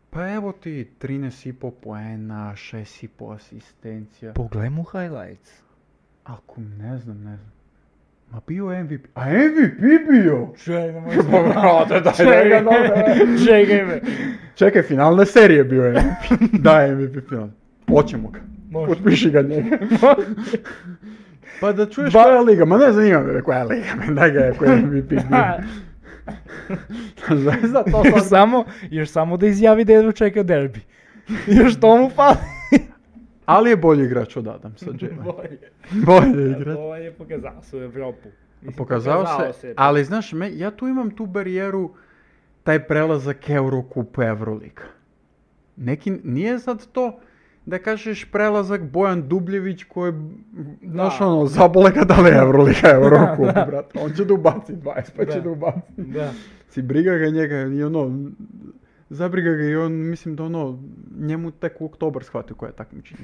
A: Pa evo ti 13,5 poena, 6,5 asistencija.
B: Погледај му highlights.
A: Ako ne znam, ne znam. Ma bio je MVP. A MVP bio!
B: Чај, не
A: Pa, brate, daj, daj ga dole.
B: Чекај ме.
A: Čekaj, finalne serije bio je <laughs> MVP. da, MVP final. Hoćemo ga.
B: Može.
A: Potpiši ga njega. pa da čuješ
B: Ba-
A: koja je liga. Ma ne zanima me koja je liga. <laughs> me, Daj ga ako je MVP bio. Zvezda to
B: Јер
A: sad.
B: само, јер само да изјави да едва чека дерби. Јер што му фали?
A: <laughs> Ali je bolji igrač od <laughs> Adamsa, Jalen.
B: Боје.
A: bolji igrač.
B: Боје е показал се у Европу. Мислим,
A: Pokazao se, ali znaš, me, ja tu imam tu barijeru, taj prelazak Eurocup Eurolika. Neki, nije sad to da kažeš prelazak Bojan Dubljević koji, znaš
B: Da.
A: ono, zabole ga da li je <laughs> Eurolika, Eurocup, brate. On će da ubaci 20, pa će
B: Da.
A: da ubaci. <laughs>
B: Да.
A: Si briga ga njega i ono, zabriga ga i on, mislim da ono, njemu tek u oktobar shvati koja je <laughs> takmičenja.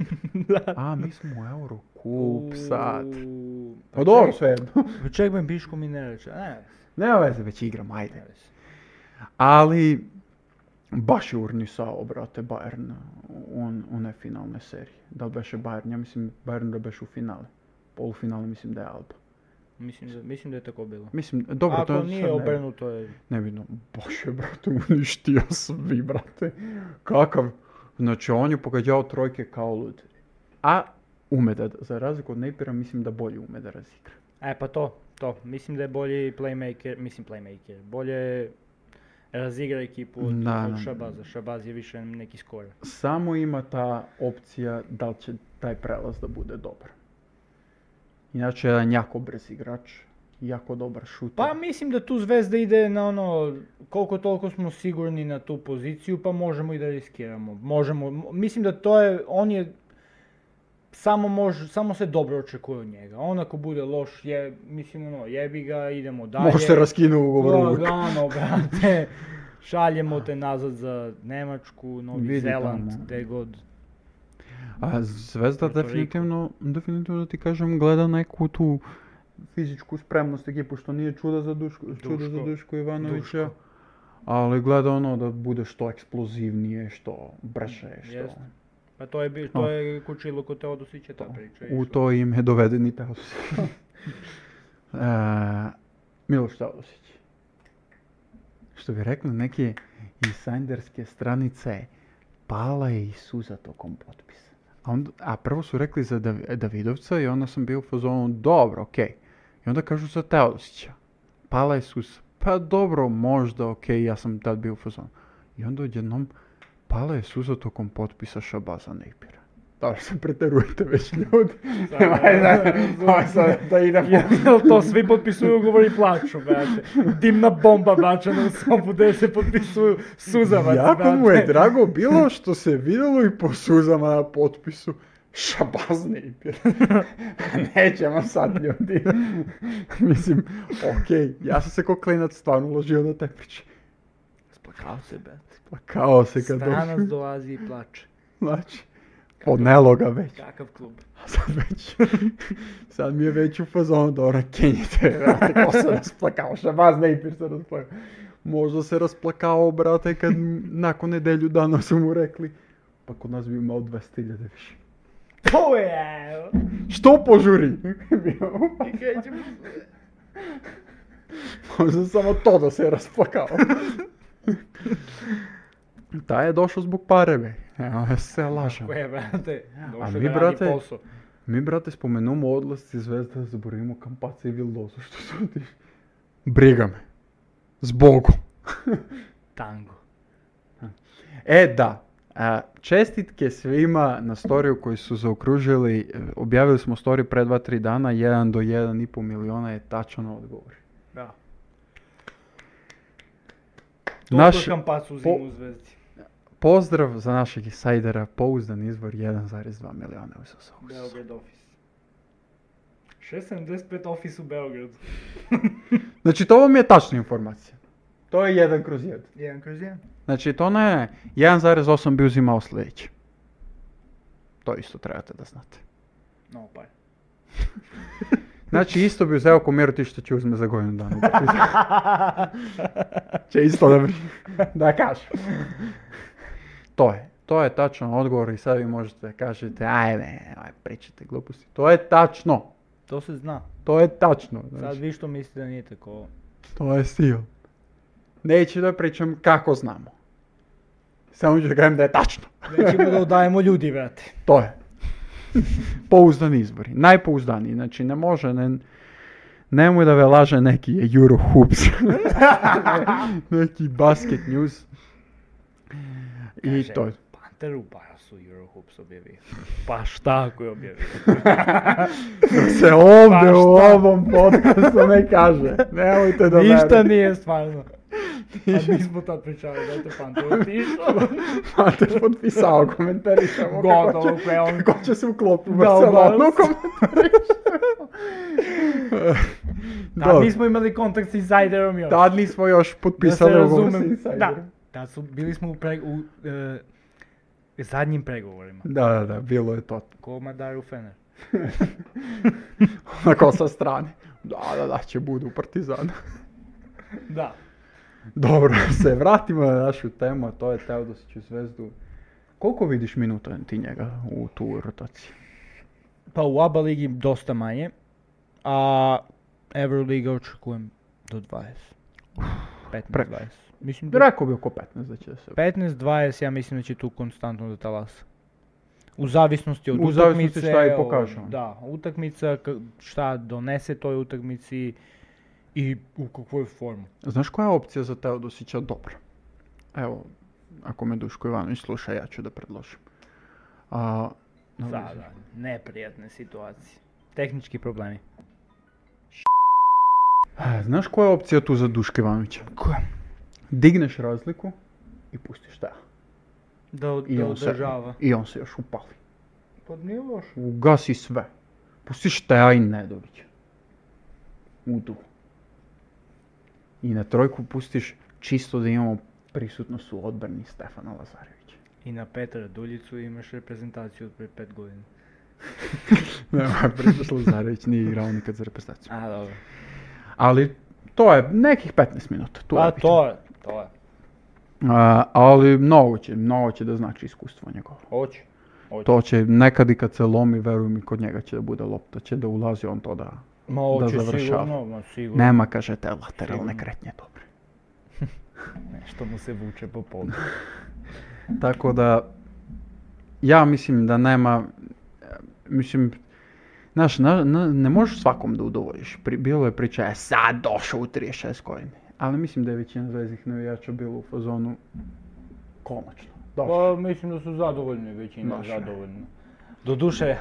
A: A, mi smo u Eurocup sad.
B: U-
A: Pa dobro, sve jedno.
B: Pa ček me, Biško mi ne reče. Ne,
A: Nema veze, već igram, ajde.
B: ne reče.
A: Ali, baš je urnisao, brate, Bayern on, one finalne serije. Da li beše Bayern? Ja mislim, Bayern da beše u finale. Polufinale mislim da je Alba.
B: Mislim da, mislim da je tako bilo.
A: Mislim, dobro, to
B: Ako
A: je
B: nije
A: sad ne-
B: obrnuto je...
A: nebitno. Baš je, brate, uništio svi, brate. Kakav. Znači, on je pogađao trojke kao lud. A ume da, za razliku od Napira, mislim da bolje ume da razigra.
B: E, pa to, to. Mislim da je bolji playmaker, mislim playmaker. Bolje razigra ekipu od,
A: Da, da.
B: od Šabaza. Šabaz je više neki skor.
A: Samo ima ta opcija da li će taj prelaz da bude dobar. Inače, jedan jako brz igrač, jako dobar šuter.
B: Pa mislim da tu Zvezda ide na ono, koliko toliko smo sigurni na tu poziciju, pa možemo i da riskiramo. Možemo, m- mislim da to je, on je, samo može, samo se dobro očekuje od njega. On ako bude loš, je, mislim ono, jebi ga, idemo dalje.
A: Može se raskinu ugovor uvijek.
B: Lagano, brate. Šaljemo te nazad za Nemačku, Novi
A: Vidi
B: Zeland,
A: tamo.
B: gde god.
A: A Zvezda
B: Puerto Rico.
A: definitivno, definitivno da ti kažem, gleda neku tu fizičku spremnost ekipu, što nije čuda za Duško, čudo za
B: Duško.
A: Duško Ivanovića.
B: Duško.
A: Ali gleda ono da bude što eksplozivnije, što brže, što...
B: Jest. Pa to je, bi-
A: No.
B: to je kučilo kod Teodosića ta priča.
A: U
B: išla.
A: to ime doveden i Teodosić. E, Miloš Teodosić. Što bi rekli neke insajderske stranice, pala je i suza tokom potpisa. A, onda, a prvo su rekli za Dav- Davidovca i onda sam bio u fazonu, dobro, okej. I onda kažu za Teodosića. Pala je suza. Pa dobro, možda, okej, ja sam tad bio u fazonu. I onda odjednom Pala je suza tokom potpisa Šabaza Nejpira. Dobro <laughs> se preterujete već ljudi.
B: Sad,
A: Nemaj da,
B: razumem.
A: ovo sad da idemo.
B: Jel Ja, to svi potpisuju ugovor i plaču, brate. Dimna bomba bačena u sobu gde se potpisuju suzavac,
A: Jako mu je
B: brate.
A: drago bilo što se videlo i po suzama na potpisu. Šabaz Nejpir. Nećemo sad ljudi. Mislim, okej, ja sam se ko klinac stvarno uložio na tepić.
B: Splakao se, brate.
A: Plakao se kad
B: Stranac
A: došao.
B: dolazi i plače.
A: Znači, ponelo ga već.
B: Kakav klub.
A: A sad <laughs> već, sad mi je već u fazonu, dobro, kenjite, <laughs> brate, ko se rasplakao, šabaz Nejpir se rasplakao. Možda se rasplakao, brate, kad nakon nedelju dana su mu rekli, pa kod nas bi imao 200.000 više.
B: To je!
A: Što požuri? <laughs>
B: I krećemo.
A: Možda samo to da se je <laughs> rasplakao. Taj je došao zbog pare, be. Evo, ja se lažem.
B: Koje, brate? Došao
A: Ja. mi,
B: da radi
A: brate,
B: posao.
A: Mi, brate, spomenemo odlasci zvezda, zaboravimo kampaca i vildozu, <laughs> što su otišli. Briga me. Zbogu.
B: Tango.
A: E, da. A, čestitke svima na storiju koji su zaokružili. E, Objavili smo story pre 2-3 dana, 1 do 1,5 miliona je tačan odgovor.
B: Da.
A: Naš-
B: Naš... Kampac u zimu u zvezdi.
A: Pozdrav za našeg insajdera, pouzdan izvor 1,2 miliona u Sasovku.
B: Beograd office. 675 office u Beogradu.
A: Znači, to vam je tačna informacija. To je 1 kroz 1.
B: Jedan kroz jedan.
A: Znači, to ne, 1,8 bi uzimao sljedeći. To isto trebate da znate.
B: No, pa.
A: Znači, isto bi uzeo ko Miro što će uzme za godinu dana. <laughs> će isto da, da kaže. To je. To je tačan odgovor i sad vi možete da kažete, ajde, aj, pričate gluposti. To je tačno.
B: To se zna.
A: To je tačno.
B: Sad
A: Znači,
B: vi što mislite da nije tako.
A: to je stil. Neću da pričam kako znamo. Samo ću da kažem da je tačno.
B: Nećemo da udajemo ljudi, brate.
A: To je. <laughs> Pouzdani izbori. Najpouzdaniji. Znači, ne može, ne, nemoj da ve laže neki je Eurohoops. <laughs> neki basket news. I
B: Kaže,
A: to je.
B: Panter u Barasu Eurohoops objavi. Pa šta ako je objavio?
A: Da se ovdje
B: Pa
A: u
B: šta?
A: ovom podcastu ne kaže. Nemojte <laughs> da
B: Ništa
A: verujete.
B: nije stvarno. A
A: <laughs>
B: mi smo tad pričali da je Panter otišao.
A: Mater potpisao, komentarišemo kako
B: Gotovo,
A: će-
B: koje on-
A: kako će se uklopiti u
B: Da,
A: Barcelonu,
B: Barcelona. <laughs>
A: komentarišemo.
B: Tad
A: Dobro.
B: nismo imali kontakt s Insiderom još.
A: Tad nismo još potpisali
B: da se
A: ugovor sa
B: razumem.
A: Insiderom.
B: Da, tad su, bili smo u, pre, u e, zadnjim pregovorima.
A: Da, da, da, bilo je to. <laughs>
B: Ko Madar u Fener.
A: Onako sa strane. Da, da, da, će budu partizan. <laughs>
B: Da.
A: Dobro, se vratimo na našu temu, a to je Teodosić u zvezdu. Koliko vidiš minuta ti njega u tu rotaciju?
B: Pa u ABA ligi dosta manje, a Euroliga očekujem do 20. 15-20. Mislim da
A: Rekao bi oko 15 da će da se...
B: 15-20 ja mislim da će tu konstantno da talasa. U zavisnosti od
A: U zavisnosti
B: utakmice,
A: šta i
B: od-
A: pokaže on.
B: Da, utakmica, k- šta donese toj utakmici i u kakvoj formu.
A: Znaš koja je opcija za Teodosića dobra? Evo, ako me Duško Ivanović sluša, ja ću da predložim. A, no,
B: Sada, neprijatne situacije. Tehnički problemi.
A: E, Znaš koja je opcija tu za Duška Ivanovića?
B: Koja?
A: Digneš razliku i pustiš da.
B: Da, od,
A: I
B: da
A: on, se,
B: održava.
A: I on se još upali.
B: Pa nije loše.
A: Ugasi sve. Pustiš Teja i Nedovića. U tu. I na trojku pustiš čisto da imamo prisutnost u odbrani Stefana Lazarevića.
B: I na Petra Duljicu imaš reprezentaciju od pre 5 godina.
A: <laughs> Ne, Prisutnost Lazarević nije igrao nikad za reprezentaciju.
B: A, dobro.
A: Ali to je nekih 15 minuta. Tu
B: Pa
A: je bitno.
B: to je, to je.
A: A, ali mnogo će, mnogo će da znači iskustvo njegovo.
B: Hoću. Hoću.
A: To će nekad i kad se lomi, veruj mi, kod njega će da bude lopta, će da ulazi on to da... da
B: Ma hoću
A: završava.
B: sigurno, ma sigurno.
A: Nema, kaže, te lateralne
B: Sigurno.
A: kretnje dobre.
B: Nešto mu se vuče po podu.
A: Tako da, ja mislim da nema, e, mislim, znaš, na- na- ne možeš svakom da udovoljiš. Pri, bilo je priča, e sad došao u 36 godine. Ali mislim da je većina zveznih navijača bilo u fazonu konačno. Dobro.
B: Pa mislim da su zadovoljni, većina je
A: Baš ne.
B: zadovoljna. <laughs> Doduše,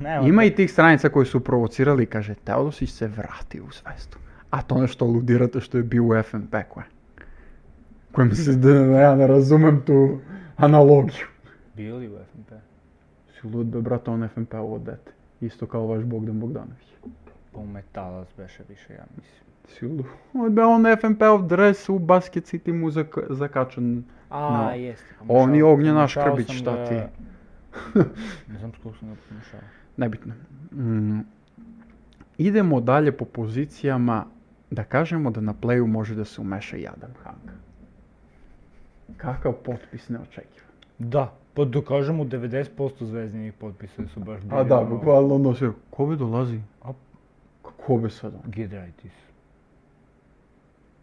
B: nema.
A: Ima i tih stranica koji su provocirali, kaže, Teodosić se vrati u svestu. A to nešto aludirate što je bio u FNP, koje? Kojem e. se, da, ja ne razumem tu analogiju.
B: Bili u FNP.
A: Si lud, be, brate, on FNP ovo dete. Isto kao vaš Bogdan Bogdanović.
B: Pa u Metalac beše više, ja mislim.
A: Si lud, be, on FNP-ov dres u Basket City mu zak- zakačen.
B: A,
A: No.
B: jeste.
A: Oni
B: pokušao-
A: Ognjen Naš
B: pokušao
A: Krbić,
B: sam
A: šta
B: <laughs> da-
A: ti?
B: ne znam s kog sam ga pokušao.
A: Nebitno. Mm. Idemo dalje po pozicijama da kažemo da na playu može da se umeša i Adam Hanka. Kakav potpis ne očekiva.
B: Da, pa da kažemo 90% zvezdinih potpisa su baš bili.
A: A da,
B: ono,
A: bukvalno ono sve, ko bi dolazi? A ko bi sad on?
B: Gidraitis.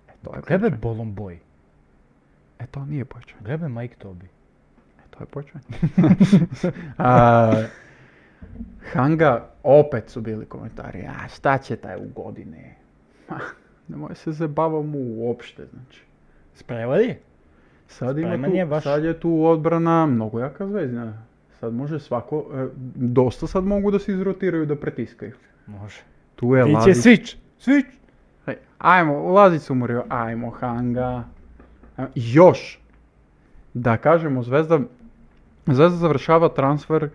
A: E, to je
B: Glebe
A: počeo.
B: Bolon Boy.
A: E, to nije počeo.
B: Glebe Mike Tobi.
A: E, to je počeo. <laughs> A, Hanga, opet su bili komentari, a šta će taj u godine? Ma, nemoj se zabavamo uopšte, znači.
B: Sprevari?
A: Sad, ima
B: Spreman je
A: tu,
B: baš.
A: sad je tu odbrana mnogo jaka zvezdina. Sad može svako, e, dosta sad mogu da se izrotiraju, da pretiskaju.
B: Može.
A: Tu je
B: Ti će
A: Lazić.
B: switch. Switch.
A: Hej, Ajmo, Lazić se umorio, ajmo Hanga. Ajmo, Još, da kažemo, Zvezda, Zvezda završava transfer e,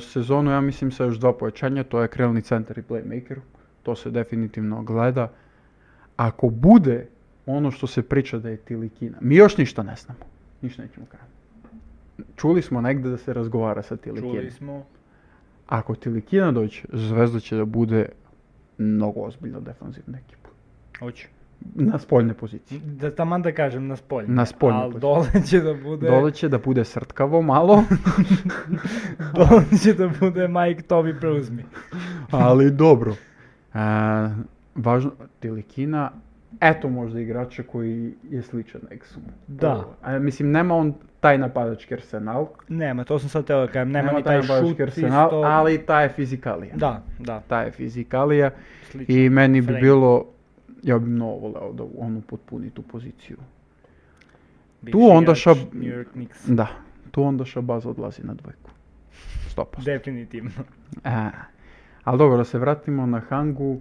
A: sezonu, ja mislim, sa još dva pojačanja, to je krelni centar i playmaker, to se definitivno gleda. Ako bude ono što se priča da je Tilikina, mi još ništa ne znamo, ništa nećemo kazati. Čuli smo negde da se razgovara sa Tilikina.
B: Čuli smo.
A: Ako Tilikina dođe, Zvezda će da bude mnogo ozbiljna defanzivna ekipa.
B: Hoće.
A: Na spoljne pozicije.
B: Da taman da kažem na spoljnje.
A: Na spoljnje
B: Ali
A: pozicije.
B: dole će da bude...
A: Dole će da bude srtkavo
B: <laughs>
A: malo,
B: dole će da bude Mike Tobi preuzmi.
A: ali dobro. E, važno, Tilikina, eto možda igrača koji je sličan Exumu.
B: Da.
A: E, mislim, nema on taj napadački arsenal,
B: Nema, to sam sad teo da kažem. Nema,
A: nema
B: ni taj šut
A: napadački arsenal,
B: isto.
A: ali ta je fizikalija.
B: Da, da.
A: Ta je fizikalija
B: Slično.
A: i meni bi
B: Frame.
A: bilo, ja bi mnogo voleo da on upotpuni tu poziciju.
B: Bivši
A: onda
B: igrač
A: šab-
B: New York Knicks.
A: Da, tu onda Šabaz odlazi na dvojku. 100%.
B: Definitivno.
A: E, ali dobro, da se vratimo na Hangu.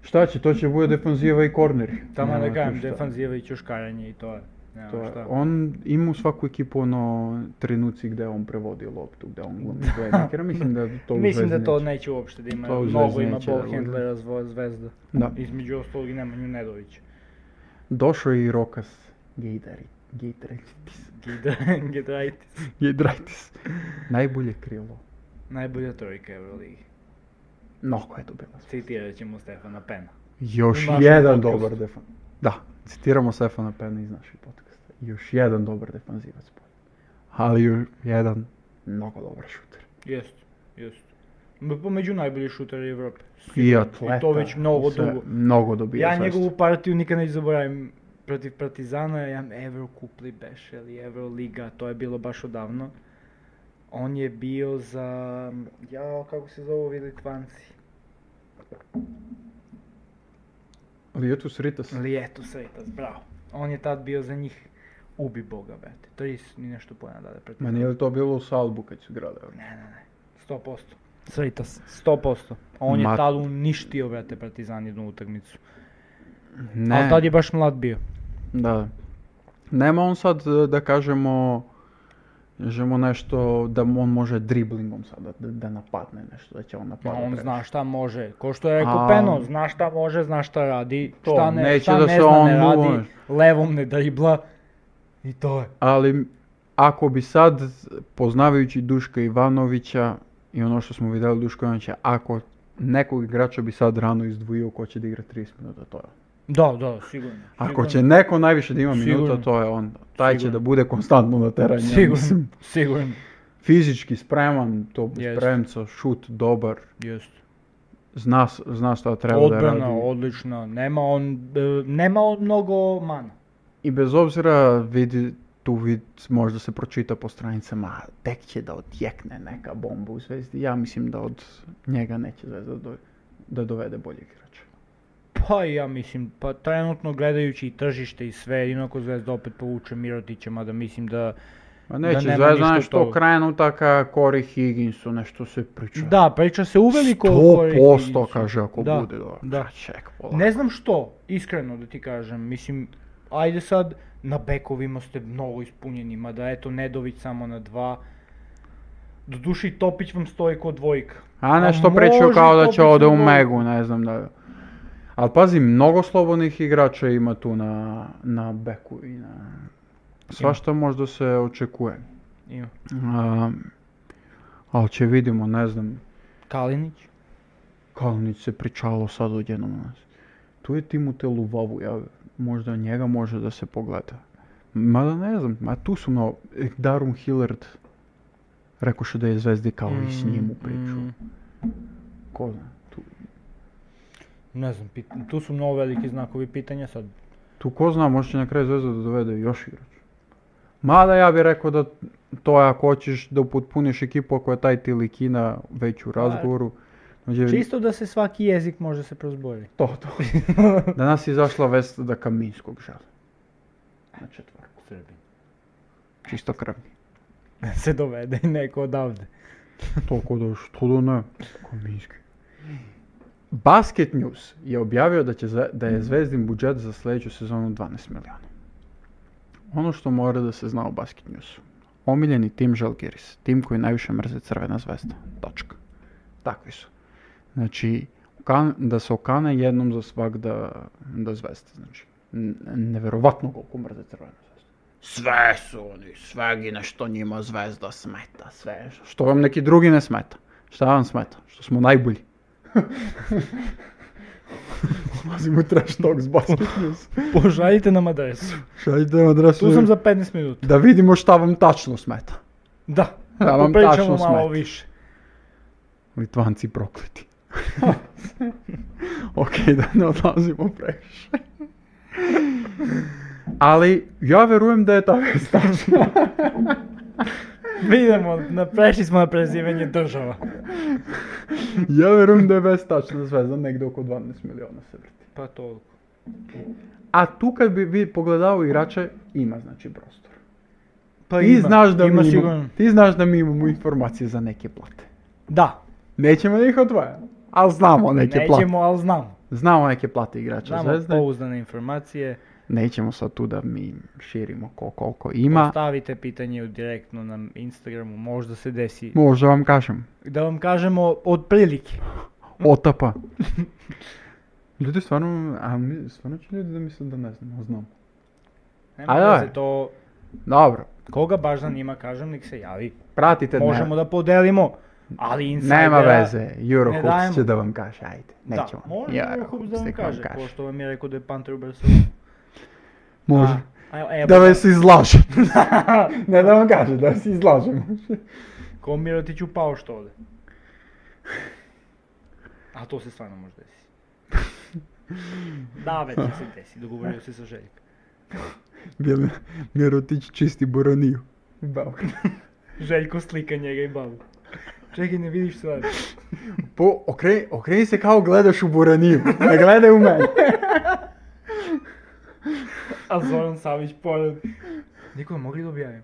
A: Šta će, to će bude defanziva i korneri.
B: Tamo
A: Nema
B: da
A: tu
B: kažem,
A: šta.
B: defanziva i čoškaranje i to je. Nema
A: To je-
B: šta.
A: on ima u svaku ekipu ono trenuci gde on prevodi loptu, gde on glumi playmakera, mislim da to u
B: Mislim
A: Zvezdi
B: da to
A: neće.
B: neće uopšte da ima,
A: To u
B: mnogo
A: Zvezdi
B: ima
A: neće da
B: ball
A: bude.
B: handlera zvo- zvezda.
A: Da.
B: Između ostalog i Nemanju Nedović.
A: Došao je i Rokas Gejdari. Gejdraitis.
B: Gide- <laughs> Gidraitis.
A: Gejdraitis. Najbolje krilo.
B: Najbolja trojka Euroligi.
A: Mnogo je dobila.
B: Citirat ćemo Stefana Pena.
A: Još
B: U našem
A: jedan
B: podcastu.
A: dobar defan... Da, citiramo Stefana Pena iz naših podcasta. Još jedan dobar defanzivac. Ali još jedan mnogo dobar šuter.
B: Jest, jest. M- Pa među najbolji šuteri Evrope.
A: I
B: Sigurno.
A: atleta.
B: I to već mnogo
A: sve,
B: dugo.
A: Mnogo dobija
B: Ja
A: sve što-
B: njegovu partiju nikad neću zaboravim. Protiv Partizana ja Eurocup li beše ili Euroliga, to je bilo baš odavno. On je bio za... Jao, kako se zovu ovi Litvanci?
A: Lietus Ritas.
B: Lijetu Sretas, bravo. On je tad bio za njih ubi boga, brate. 30 ni nešto pojena dade
A: Ma
B: Partizan.
A: nije li to bilo u Salbu kad su igrali?
B: Ne, ne, ne. 100%. Sretas. 100%. On
A: Ma-
B: je tad uništio, brate, Partizan jednu utakmicu.
A: Ne,
B: Ali tad je baš mlad bio.
A: da. Nema on sad e, da kažemo kažemo nešto da on može driblingom sada da, da napadne nešto, da će on
B: Ma
A: napadati.
B: on zna šta može. Ko što je rekao
A: A-
B: Peno, zna šta može, zna šta radi,
A: To,
B: šta ne,
A: neće
B: šta
A: da
B: ne
A: se
B: zna,
A: on
B: ne
A: muva.
B: radi, levom ne dribla. I to je.
A: Ali ako bi sad, poznavajući Duška Ivanovića i ono što smo vidjeli Duška Ivanovića, ako nekog igrača bi sad rano izdvojio ko će da igra 30 minuta, to je on.
B: Da, da, sigurno.
A: Ako
B: sigurno.
A: će neko najviše da ima minuta,
B: Sigurno.
A: to je on. Taj će
B: Sigurno.
A: da bude konstantno na terenu. ja
B: Sigurno,
A: mislim.
B: sigurno.
A: Fizički spreman, to
B: Jest.
A: spremca, šut dobar,
B: Jeste.
A: zna, s- zna šta treba da
B: Odbrana,
A: radi.
B: odlična, nema on, e, nema on mnogo mana.
A: I bez obzira vidi tu vid, možda se pročita po stranicama, a tek će da odjekne neka bomba u zvezdi. Ja mislim da od njega neće zvezda do- da dovede boljeg igrača.
B: Pa i ja mislim, pa trenutno gledajući i tržište i sve, jedino ako Zvezda opet povuče Mirotića, mada mislim da...
A: Ma
B: Da
A: neće,
B: nema
A: Zvezda
B: ništa od
A: nešto
B: toga.
A: okrenutaka, Kori Higginsu, nešto se priča.
B: Da, priča se uveliko... o Corey
A: 100%
B: Higginsu.
A: kaže ako
B: Da,
A: bude dobro.
B: Da.
A: Ček, polako.
B: Ne znam što, iskreno da ti kažem, mislim, ajde sad, na bekovima ste mnogo ispunjeni, mada eto Nedović samo na dva. Doduše i Topić vam stoji kod dvojka.
A: A nešto
B: može
A: pričaju kao da
B: Topić
A: će
B: na
A: ode u
B: dvojku.
A: Megu, ne znam da... Ali pazi, mnogo slobodnih igrača ima tu na, na beku i na... Svašta možda se očekuje.
B: Ima.
A: Um, ali će vidimo, ne znam,
B: Kalinić.
A: Kalinić se pričalo sad odjednom na nas. Tu je Timote Luvavu, ja, možda njega može da se pogleda. Mada ne znam, ma tu su mnogo, eh, Darum Hillard, rekoše da je zvezdi kao i s njim u priču.
B: Mm, mm,
A: Ko zna, tu,
B: ne znam, pit- tu su mnogo veliki znakovi pitanja sad.
A: tu ko zna, možda će na kraju zvezda da dovede još igrač. Mada ja bih rekao da to je ako hoćeš da upotpuniš ekipu ako je taj Tilikina već u razgovoru. znači, dođe-
B: Čisto da se svaki jezik može se prozbori.
A: <laughs> To, to. Danas je izašla vest da Kaminskog žele. Na četvrku.
B: Srbin. <laughs>
A: Čisto krvni.
B: se dovede i neko odavde.
A: Toliko da što da ne. Kaminski. Basket News je objavio da, će, Zve- da je zvezdin budžet za sljedeću sezonu 12 miliona. Ono što mora da se zna o Basket Newsu. Omiljeni tim Žalgiris. Tim koji najviše mrze Crvena zvezda. Točka. Takvi su. Znači, okan- da se okane jednom za svak da, da zvezda. Znači, n- neverovatno koliko mrze Crvena zvezda. Sve su oni, svegi na što njima zvezda smeta, sve. Što vam neki drugi ne smeta? Šta vam smeta? Što smo <laughs> najbolji. Ulazim u trash talk s Basket News.
B: Požaljite nam adresu.
A: Šaljite vam adresu.
B: Tu sam za 15 minuta.
A: Da vidimo šta vam tačno smeta.
B: Da.
A: Da vam
B: popričamo
A: tačno
B: malo
A: smeta.
B: više.
A: Litvanci <laughs> prokleti. ok, da ne odlazimo previše. Ali ja verujem da je ta vest tačna.
B: Vidimo, na- prešli smo na prezivanje država.
A: ja verujem da je vest tačna zvezda, negde oko 12 miliona se vrti.
B: Pa toliko.
A: A tu kad bi vi pogledao igrače, ima znači prostor.
B: Pa
A: ti, znaš da
B: ima
A: mi
B: sigurno.
A: imamo, ti znaš da mi imamo informacije za neke plate.
B: Da.
A: Nećemo da ih odvajamo, ali znamo neke plate.
B: Nećemo, ali znamo.
A: Znamo neke plate igrača
B: Znamo
A: Zvezde.
B: pouzdane informacije.
A: Nećemo sad tu da mi širimo ko koliko ima.
B: Stavite pitanje u- direktno na Instagramu, možda se desi.
A: Možda vam kažem.
B: Da vam kažemo otprilike.
A: Otapa. ljudi stvarno, a mi, stvarno će ljudi da misle da ne znam, a znam.
B: Nema
A: A da.
B: veze, to
A: Dobro,
B: koga baš zanima, kažem, nek se javi.
A: pratite ne-
B: Možemo da podelimo, ali insajdera...
A: Nema veze,
B: ne
A: Eurohoops
B: dajemo.
A: će da vam kaže, ajde,
B: Da,
A: nećemo.
B: može Eurohoops da vam
A: nek
B: kaže, pošto vam je rekao da je Panter u Barcelonu.
A: Može.
B: A, a, evo
A: Da
B: ga.
A: vas izlaže. <laughs> ne da vam kaže, da vas izlaže.
B: Ko Mirotić upao što ode. A to se stvarno može desiti. da, već će se desi, dogovorio se sa Željkom.
A: Bili Mirotić čisti boroniju. Bauk.
B: Željko slika njega i babu. Čekaj, ne vidiš stvari.
A: Po, okreni, okreni se kao gledaš u boroniju, ne gledaj u mene.
B: A Zoran Savić pored. Nikola, mogli da objavim?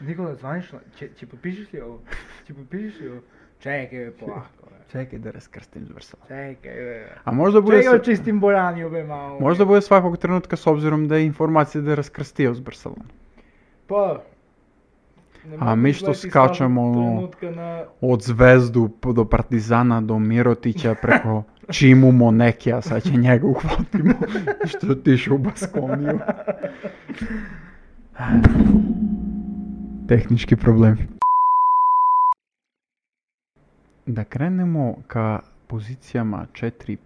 B: Nikola, zvanično, će, će potpišeš li ovo? Će potpišeš li ovo? Čekaj, be,
A: <laughs>
B: polako, be.
A: Čekaj da raskrstim Zvrslava.
B: Čekaj, be.
A: A možda bude,
B: Čekaj,
A: sa,
B: očistim boraniju, be, malo.
A: možda bude svakog trenutka s obzirom da je informacija da je raskrstio s Barcelona.
B: Pa... ne
A: A
B: mogu
A: mi što
B: gledati
A: skačemo,
B: svakog
A: ono,
B: trenutka na...
A: Od Zvezdu p- do Partizana do Mirotića preko Čimu Monekija, sad će njega uhvatimo. što je otišao u Baskoniju. <sighs> Tehnički problem. Da krenemo ka pozicijama 4,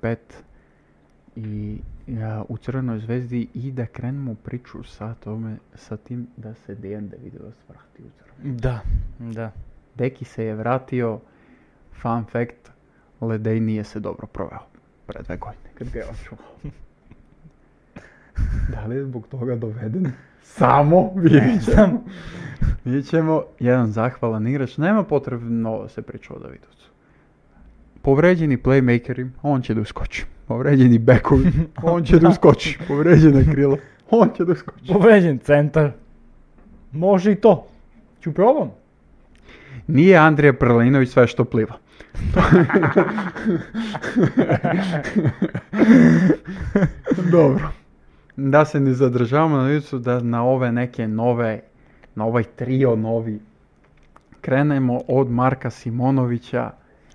A: 5 i a, u Crvenoj zvezdi i da krenemo priču sa, tome, sa tim da se Dejan Davidovac vrati u Crvenu.
B: Da, da.
A: Deki se je vratio, fun fact, Ledej nije se dobro proveo pre dve godine kad ga je očuvao. <laughs> da li je zbog toga doveden? <laughs> Samo vidjet ćemo. vidjet ćemo, jedan zahvalan igrač, nema potrebno se priča o Davidovcu. Povređeni playmakeri, on će da uskoči. Povređeni <laughs> bekovi, on će da <laughs> uskoči. Povređena krila, on će da uskoči.
B: Повреđен центар. Може и то. Ќе пробам.
A: Nije Andrija Prlinović sve što pliva. Dobro. Da se ne zadržavamo na licu, da na ove neke nove, na ovaj trio novi, krenemo od Marka Simonovića.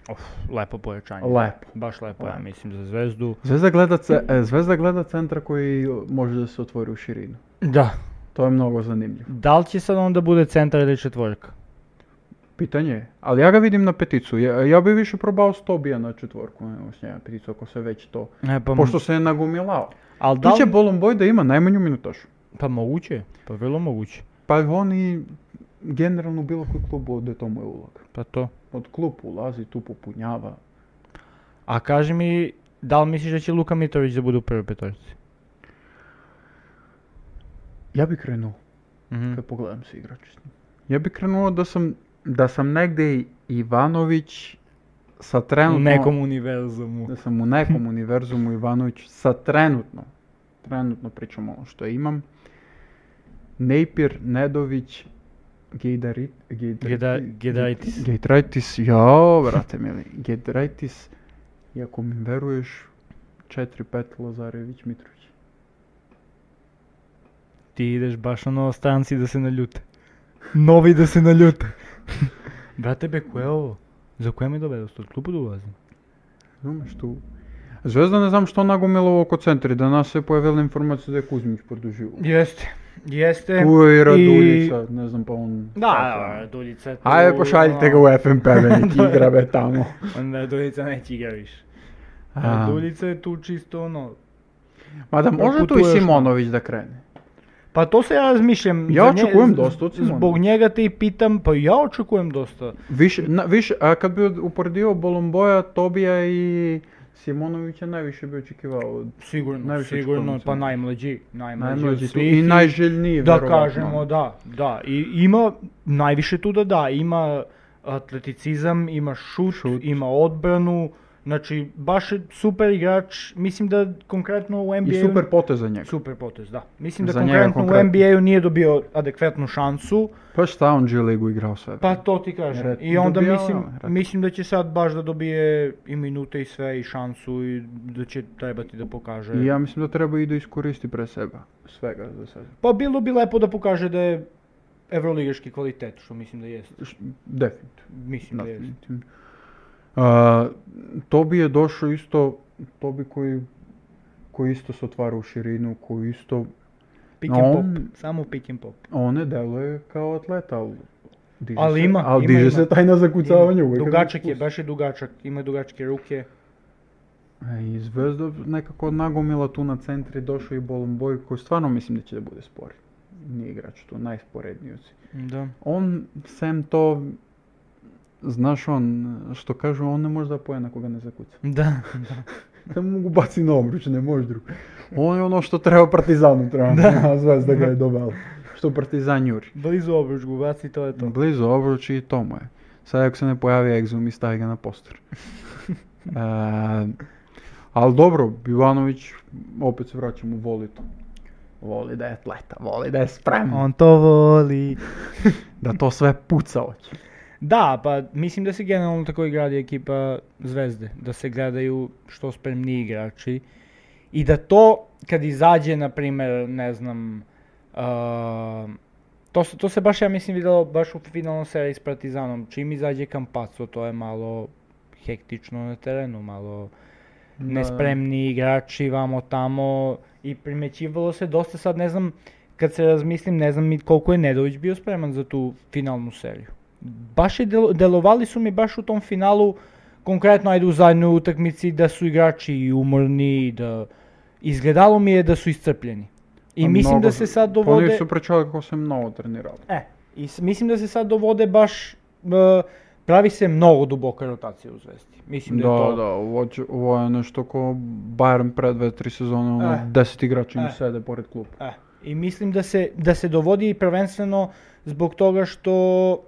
B: Оф, лепо појачање.
A: Лепо.
B: Баш лепо е,
A: Лепо.
B: мислим, за Звезду.
A: Zvezda gleda, ce- e, Zvezda gleda centra koji može da se otvori u širinu.
B: Да.
A: To je mnogo zanimljivo.
B: Дали ќе се да буде центар или четворка?
A: Pitanje je, ali ja ga vidim na peticu. Ja, ja bi više probao Stobija na četvorku nego s njega na peticu, ako se već to...
B: Не, па,
A: Pošto se je nagomilao.
B: ал
A: pa Tu
B: дали...
A: će Bolomboj da ima najmanju minutašu.
B: Па могуќе, е, па вело могуќе.
A: Pa on i generalno u bilo koji klub ode to mu je uloga.
B: Па то.
A: Od klub ulazi, tu popunjava.
B: А кажи ми, дали мислиш да ќе Лука Митовиќ да биде у првој петорци?
A: Ja bi krenuo,
B: Мгм.
A: kad pogledam se igrače s njim. Ja bi krenuo da sam, da sam negde i- Ivanović sa
B: У
A: trenutno...
B: неком универзуму.
A: Da sam u nekom univerzumu Ivanović sa trenutno, trenutno pričam ono što imam. Nejpir, Nedović, Gejdarit, Gejdarit,
B: Геда- Гедрайтис.
A: Gejdraitis, jao, brate mili, Gejdraitis, i ako mi veruješ, 4-5 Lazarević Mitrović.
B: Ти идеш баш на странци да се наљуте. Нови да се наљуте. Брате бе, кое е ово? За која ми добедост? Од клубу долази?
A: Znaš tu? Zvezda ne znam što nagomilo oko centri, danas se pojavila informacija da je Kuzmić produžio.
B: Јесте. Јесте.
A: Tu je i Raduljica, ne znam pa on...
B: Да, да, Дулица.
A: Ajde, pošaljite <laughs> ga u FNP, da
B: <laughs>
A: nek igra be <laughs> tamo.
B: Onda Дулица не ќе игра више.
A: A.
B: Дулица е ту чисто
A: ono,
B: оно.
A: Ma da može tu i
B: Putuješ na-
A: Simonović da krene. pa
B: Па то се ја размишлям.
A: Ја
B: за не-
A: очекувам доста од Симоновиќ.
B: Због njega те и питам,
A: pa
B: па ја очекувам доста.
A: Više, na, više, a kad bi uporedio Bolomboja, Tobija i Simonovića, najviše bi očekivao od
B: Сигурно,
A: Највише
B: сигурно,
A: очекувам
B: па
A: се.
B: најмлаđi, најмлаđi,
A: pa najmlađi
B: од
A: tu
B: свих
A: i najželjniji,
B: Да
A: verovatno.
B: кажемо, да, да. И има највише туда, да, има атлетицизам, има шут,
A: Шут.
B: има одбрану. Значи, баш е супер играч, мислим да конкретно у NBA...
A: I
B: -у-
A: super potez za njega.
B: Супер потез, да. Мислим да
A: За
B: конкретно,
A: njega
B: у
A: конкретно.
B: NBA -у nije dobio адекватну шансу,
A: Pa šta on G ligu igrao sve?
B: па то ти кажам.
A: Ред-
B: и онда
A: добијал,
B: мислим,
A: ред.
B: мислим да ќе сад баш да добие и минута и све и шансу и да ќе треба ти да покаже.
A: I ja mislim da treba i da iskoristi pre sebe. Svega za sebe.
B: Па било би лепо да покаже да е евролигашки квалитет, што мислим да јесте.
A: Ш- Definitivno.
B: Мислим да јесте.
A: definitivno. A, Tobi je došao isto, Tobi koji, koji isto se otvara u širinu, koji isto
B: Pick
A: No,
B: and
A: on-
B: pop, само pick and pop.
A: On ne deluje kao atleta, ali diže
B: Ali
A: se,
B: ima,
A: ali
B: ima,
A: diže
B: ima.
A: se taj na zakucavanje uvijek.
B: Dugačak je, baš je dugačak, ima dugačke ruke.
A: E, I Zvezda nekako nagomila tu na centri, došao i Bolomboj koji stvarno mislim da će da bude spori. Nije igrač tu, najsporedniji od svih.
B: Да.
A: On, sem to, znaš on, što kažu, on ne može da poje na koga ne zakuca.
B: Да.
A: Ne mogu baci na obruč, ne može drugo. On je ono što treba Partizanu, treba, <laughs> a Zvezda ga je dovela. Što Partizan juri.
B: Близо обруч го баци, тоа е тоа.
A: Blizu obruč i to mu je. Sad ako se ne pojavi egzum i stavi ga na <laughs> poster. e, ali dobro, Ivanović, opet se vraćamo, voli to. Voli da je atleta, voli da je spreman.
B: Он то воли.
A: Da to sve puca oči.
B: Да, па мислим да се генерално тако игради екипа Звезде, да се гледају што спремни играчи и да то кад изаѓе на пример, не знам, а, то, се- то се баш ја мислим видело баш у финална серија с Партизаном, чим изаѓе Кампацо, тоа е мало хектично на терену, мало неспремни играчи вамо тамо и примеќивало се доста сад не знам кад се размислим не знам и колку е Недовиќ био спреман за ту финалну серију. Баш е дел, деловали су ми баш у том финалу конкретно ајде у заедној утакмици да су играчи и уморни и да изгледало ми е да су исцрпљени.
A: Pa
B: И мислим да се сад доводе
A: Поние su pričali kako se mnogo trenirali.
B: Е, и с- мислим да се сад доводе баш е, прави се многу дубока ротација у Звезди. Мислим да, е тоа.
A: Da, da, ovo, će- ovo je nešto ko Bayern pre dve, tri sezone, ono,
B: Eh.
A: deset igrača im
B: Eh.
A: sede pored klupa.
B: E, I mislim da se, da se dovodi prvenstveno zbog toga što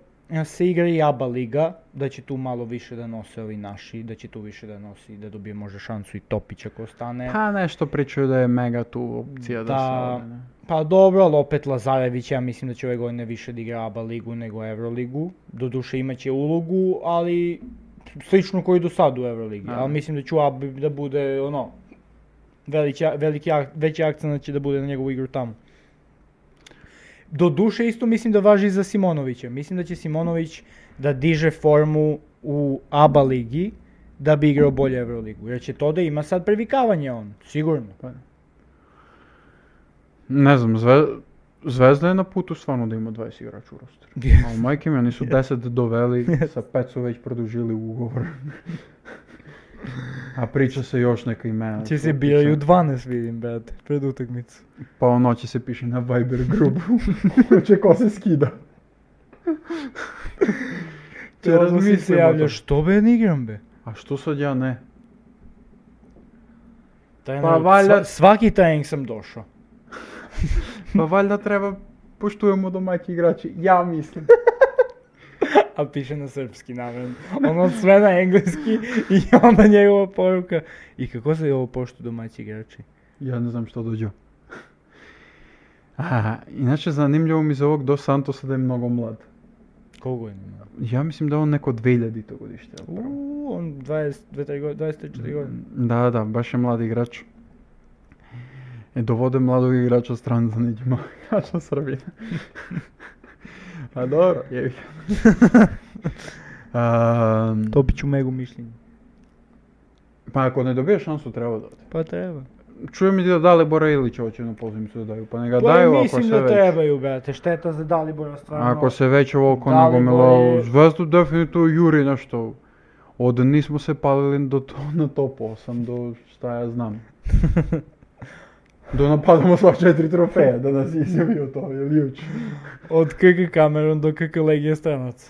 B: се игра и аба лига, да ќе ту мало више да носе ови наши, да ќе ту више да носи, да добие може шансу и Топич ако остане.
A: Па нешто причај да е мега ту опција да, се
B: Да.
A: оде, не.
B: Па добро, ал опет Лазаревиќ, ја мислим да ќе овој година више да игра аба лигу него Евролигу. Додуше имаќе улогу, али слично кој до сад у Евролиги.
A: Да.
B: Ал мислим да ќе аба да буде оно велики велики ак- веќе акцент ќе да буде на негово игру таму. Додуше исто мислим да важи и за Симоновиќа. Мислим да ќе Симоновиќ да диже форму у аба лиги да би играл боље Евролигу. Јер ќе тоа да има сад превикавање он, сигурно.
A: <laughs> pa Не знам, зве... Звезда е на путу стварно да има 20 играчи у ростер. А у мајки ми, они <laughs> су 10 довели, са 5 су веќе продужили <laughs> уговор. А прича се још нека имена.
B: Ќе се
A: Прича-
B: бирају 12 видим, брат, пред утакмица.
A: Па оно ќе се пише на Viber груп. <laughs> Че ко се скида. Ќе
B: Тоа си се
A: размислим о
B: јавља,
A: тоа.
B: што бе не играм бе?
A: А што сад ја не?
B: Тај
A: Па,
B: народ,
A: валја-
B: сва- сваки тајнг сам дошо.
A: Па валјда треба поштуемо домаќи играчи. Ја мислам.
B: А пише на српски намерно. Оно све на <laughs> енглески и онда негова порука. И како се јаво пошто домаќи играчи?
A: Ја не знам што дојде. А, иначе занимљиво ми за овог До Сантоса да е многу млад.
B: Колку е нема?
A: Ја мислим да е он неко 2000-то годиште. е прво.
B: Уу, он 22 години, 24 години.
A: Да, да, баш е млад играч. Е, доводе младог играч од страна да неќе <laughs> мал играч од Србија. а добро, јеби. А,
B: Тоа бичу мега мишлење.
A: па ако не добие шансу треба да оде.
B: Па треба.
A: Чуем и да дале Бора Илича оче на позимцу да дају, па не га
B: Pa
A: дају ако
B: мислим
A: се
B: да
A: веќе.
B: требају, брате, штета за Далибора стварно.
A: Ако се веќе волко не Па, го
B: Далибор
A: мило
B: е-
A: звезду, дефинитивно Јури нешто. Од нисмо се палили до то, <laughs> на топ 8, до шта ја <laughs> знам. до нападаме слав 4 трофеја, да нас изјави од тоа, или јуч.
B: Од КК Камерон до КК Легија <laughs> Странац.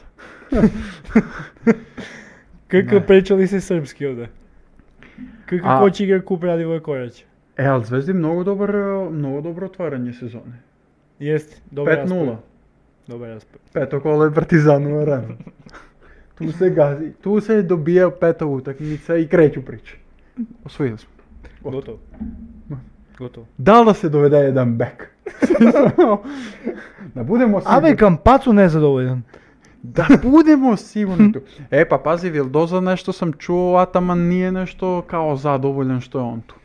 B: КК
A: Не.
B: пречали се српски овде. КК
A: А-
B: кој ќе игра куп Радивој Корач.
A: Е, ал Звезди многу добар, е, многу добро отварање сезоне.
B: Јест, добар
A: 5-0.
B: Добар распоред.
A: Пето коло е партизанова рана. <laughs> Ту се гази, ту се добија пета утакмица и креќу прича. Освоили сме.
B: Готово. Готово.
A: Дал да се доведе еден <laughs> бек. да будемо сигурни.
B: Абе, кам Пацу не е задоволен.
A: Да будемо сигурни ту. Е, па пази, Вилдоза нешто сам чуо, атаман ние нешто као задоволен што е он ту.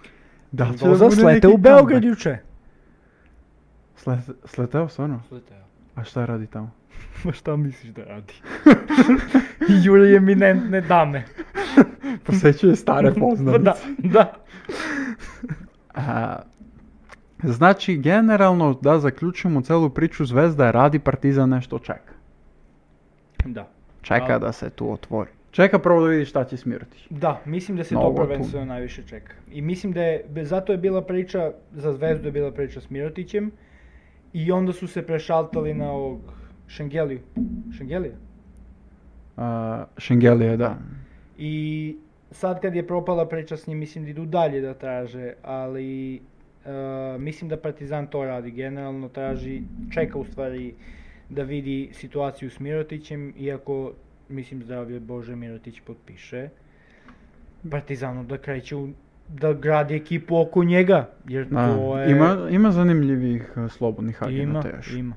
A: Да, ќе
B: Тоа за
A: буде неки
B: слете у Белград
A: камбек.
B: јуче.
A: Слет, слетео стварно? А шта ради таму?
B: Ма шта мислиш да ради? <laughs> Јуре еминентне даме.
A: Посеќува <laughs> старе познати.
B: Да, <laughs> да.
A: А, значи, генерално, да заклучимо целу причу, Звезда ради Партизан нешто чека.
B: Да.
A: Чека
B: Да.
A: да се ту отвори. Чека прво да види шта ќе смиротиш.
B: Да, мислим да се
A: Много
B: тоа
A: е
B: првенствено највише чека. И мислим да е, бе- затоа е била прича, за Звезду е била прича с Миротичем, и онда су се прешалтали на овог Шенгелију. Шенгелија?
A: А, Шенгелија, да.
B: И сад кад е пропала прича с ним, мислим да иду даље да траже, али е, мислим да Партизан тоа ради, генерално тражи, чека уствари да види ситуацију с Миротичем, иако мислим здравје Боже Миротич потпише. Партизану да крајче у- да гради екипу око njega, jer
A: Да,
B: to je...
A: Има, има занимљивих а, слободних
B: има,
A: агента теш.
B: има.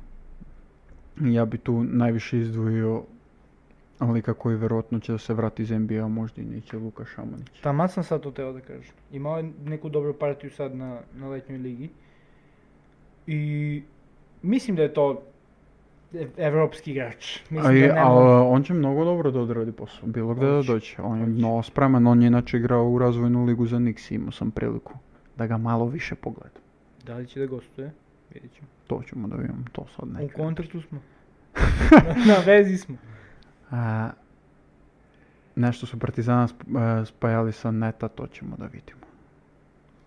A: Ја би ту највише издвоио лика кој веројатно ќе да се врати из NBA, можда и неќе Лука Шаманич.
B: Тама сам сад отел да кажам. Имао е неку добру партију сад на, на летњој лиги. И мислим да е тоа ев- европски играч. Мислим
A: А, и,
B: да
A: а,
B: нема...
A: он ќе многу добро да одради посол, било каде да
B: Оќе,
A: дојде. Он е
B: оќе.
A: многу спремен, он иначе играл у развојну лигу за Никс и имao сам прилику да га мало више погледам.
B: Дали ќе да гостуе? Види ќе.
A: То ќемо да видам, то сад не.
B: У контакту смо. <laughs> на, на вези смо.
A: А, нешто со Партизана сп- е, спајали со Нета, то ќемо да видиме.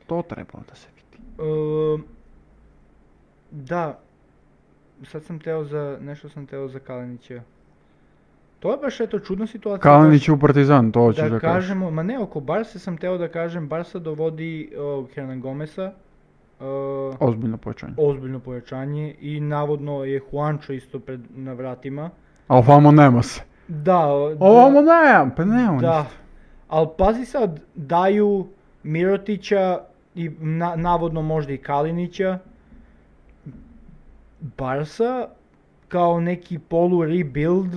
A: То треба да се види.
B: Е, да. Сад сам тео за... Нешто сам тео за Калинича. Тоа беше ето чудна ситуација.
A: Калнич у Партизан, тоа ќе
B: да,
A: да кажеш.
B: kažemo, ma ne, oko Barse sam teo da kažem, Barsa dovodi ovog Hernan Gomesa, uh,
A: Озбиљно појачање.
B: ozbiljno pojačanje i navodno je Juancho isto pred, na vratima,
A: A ovamo nema se.
B: Да, о-
A: Ovamo nemam, pa nemam
B: да.
A: ništa.
B: Ал пази сад, дају Миротича и на, наводно можда и Калинича Барса као неки полу ребилд,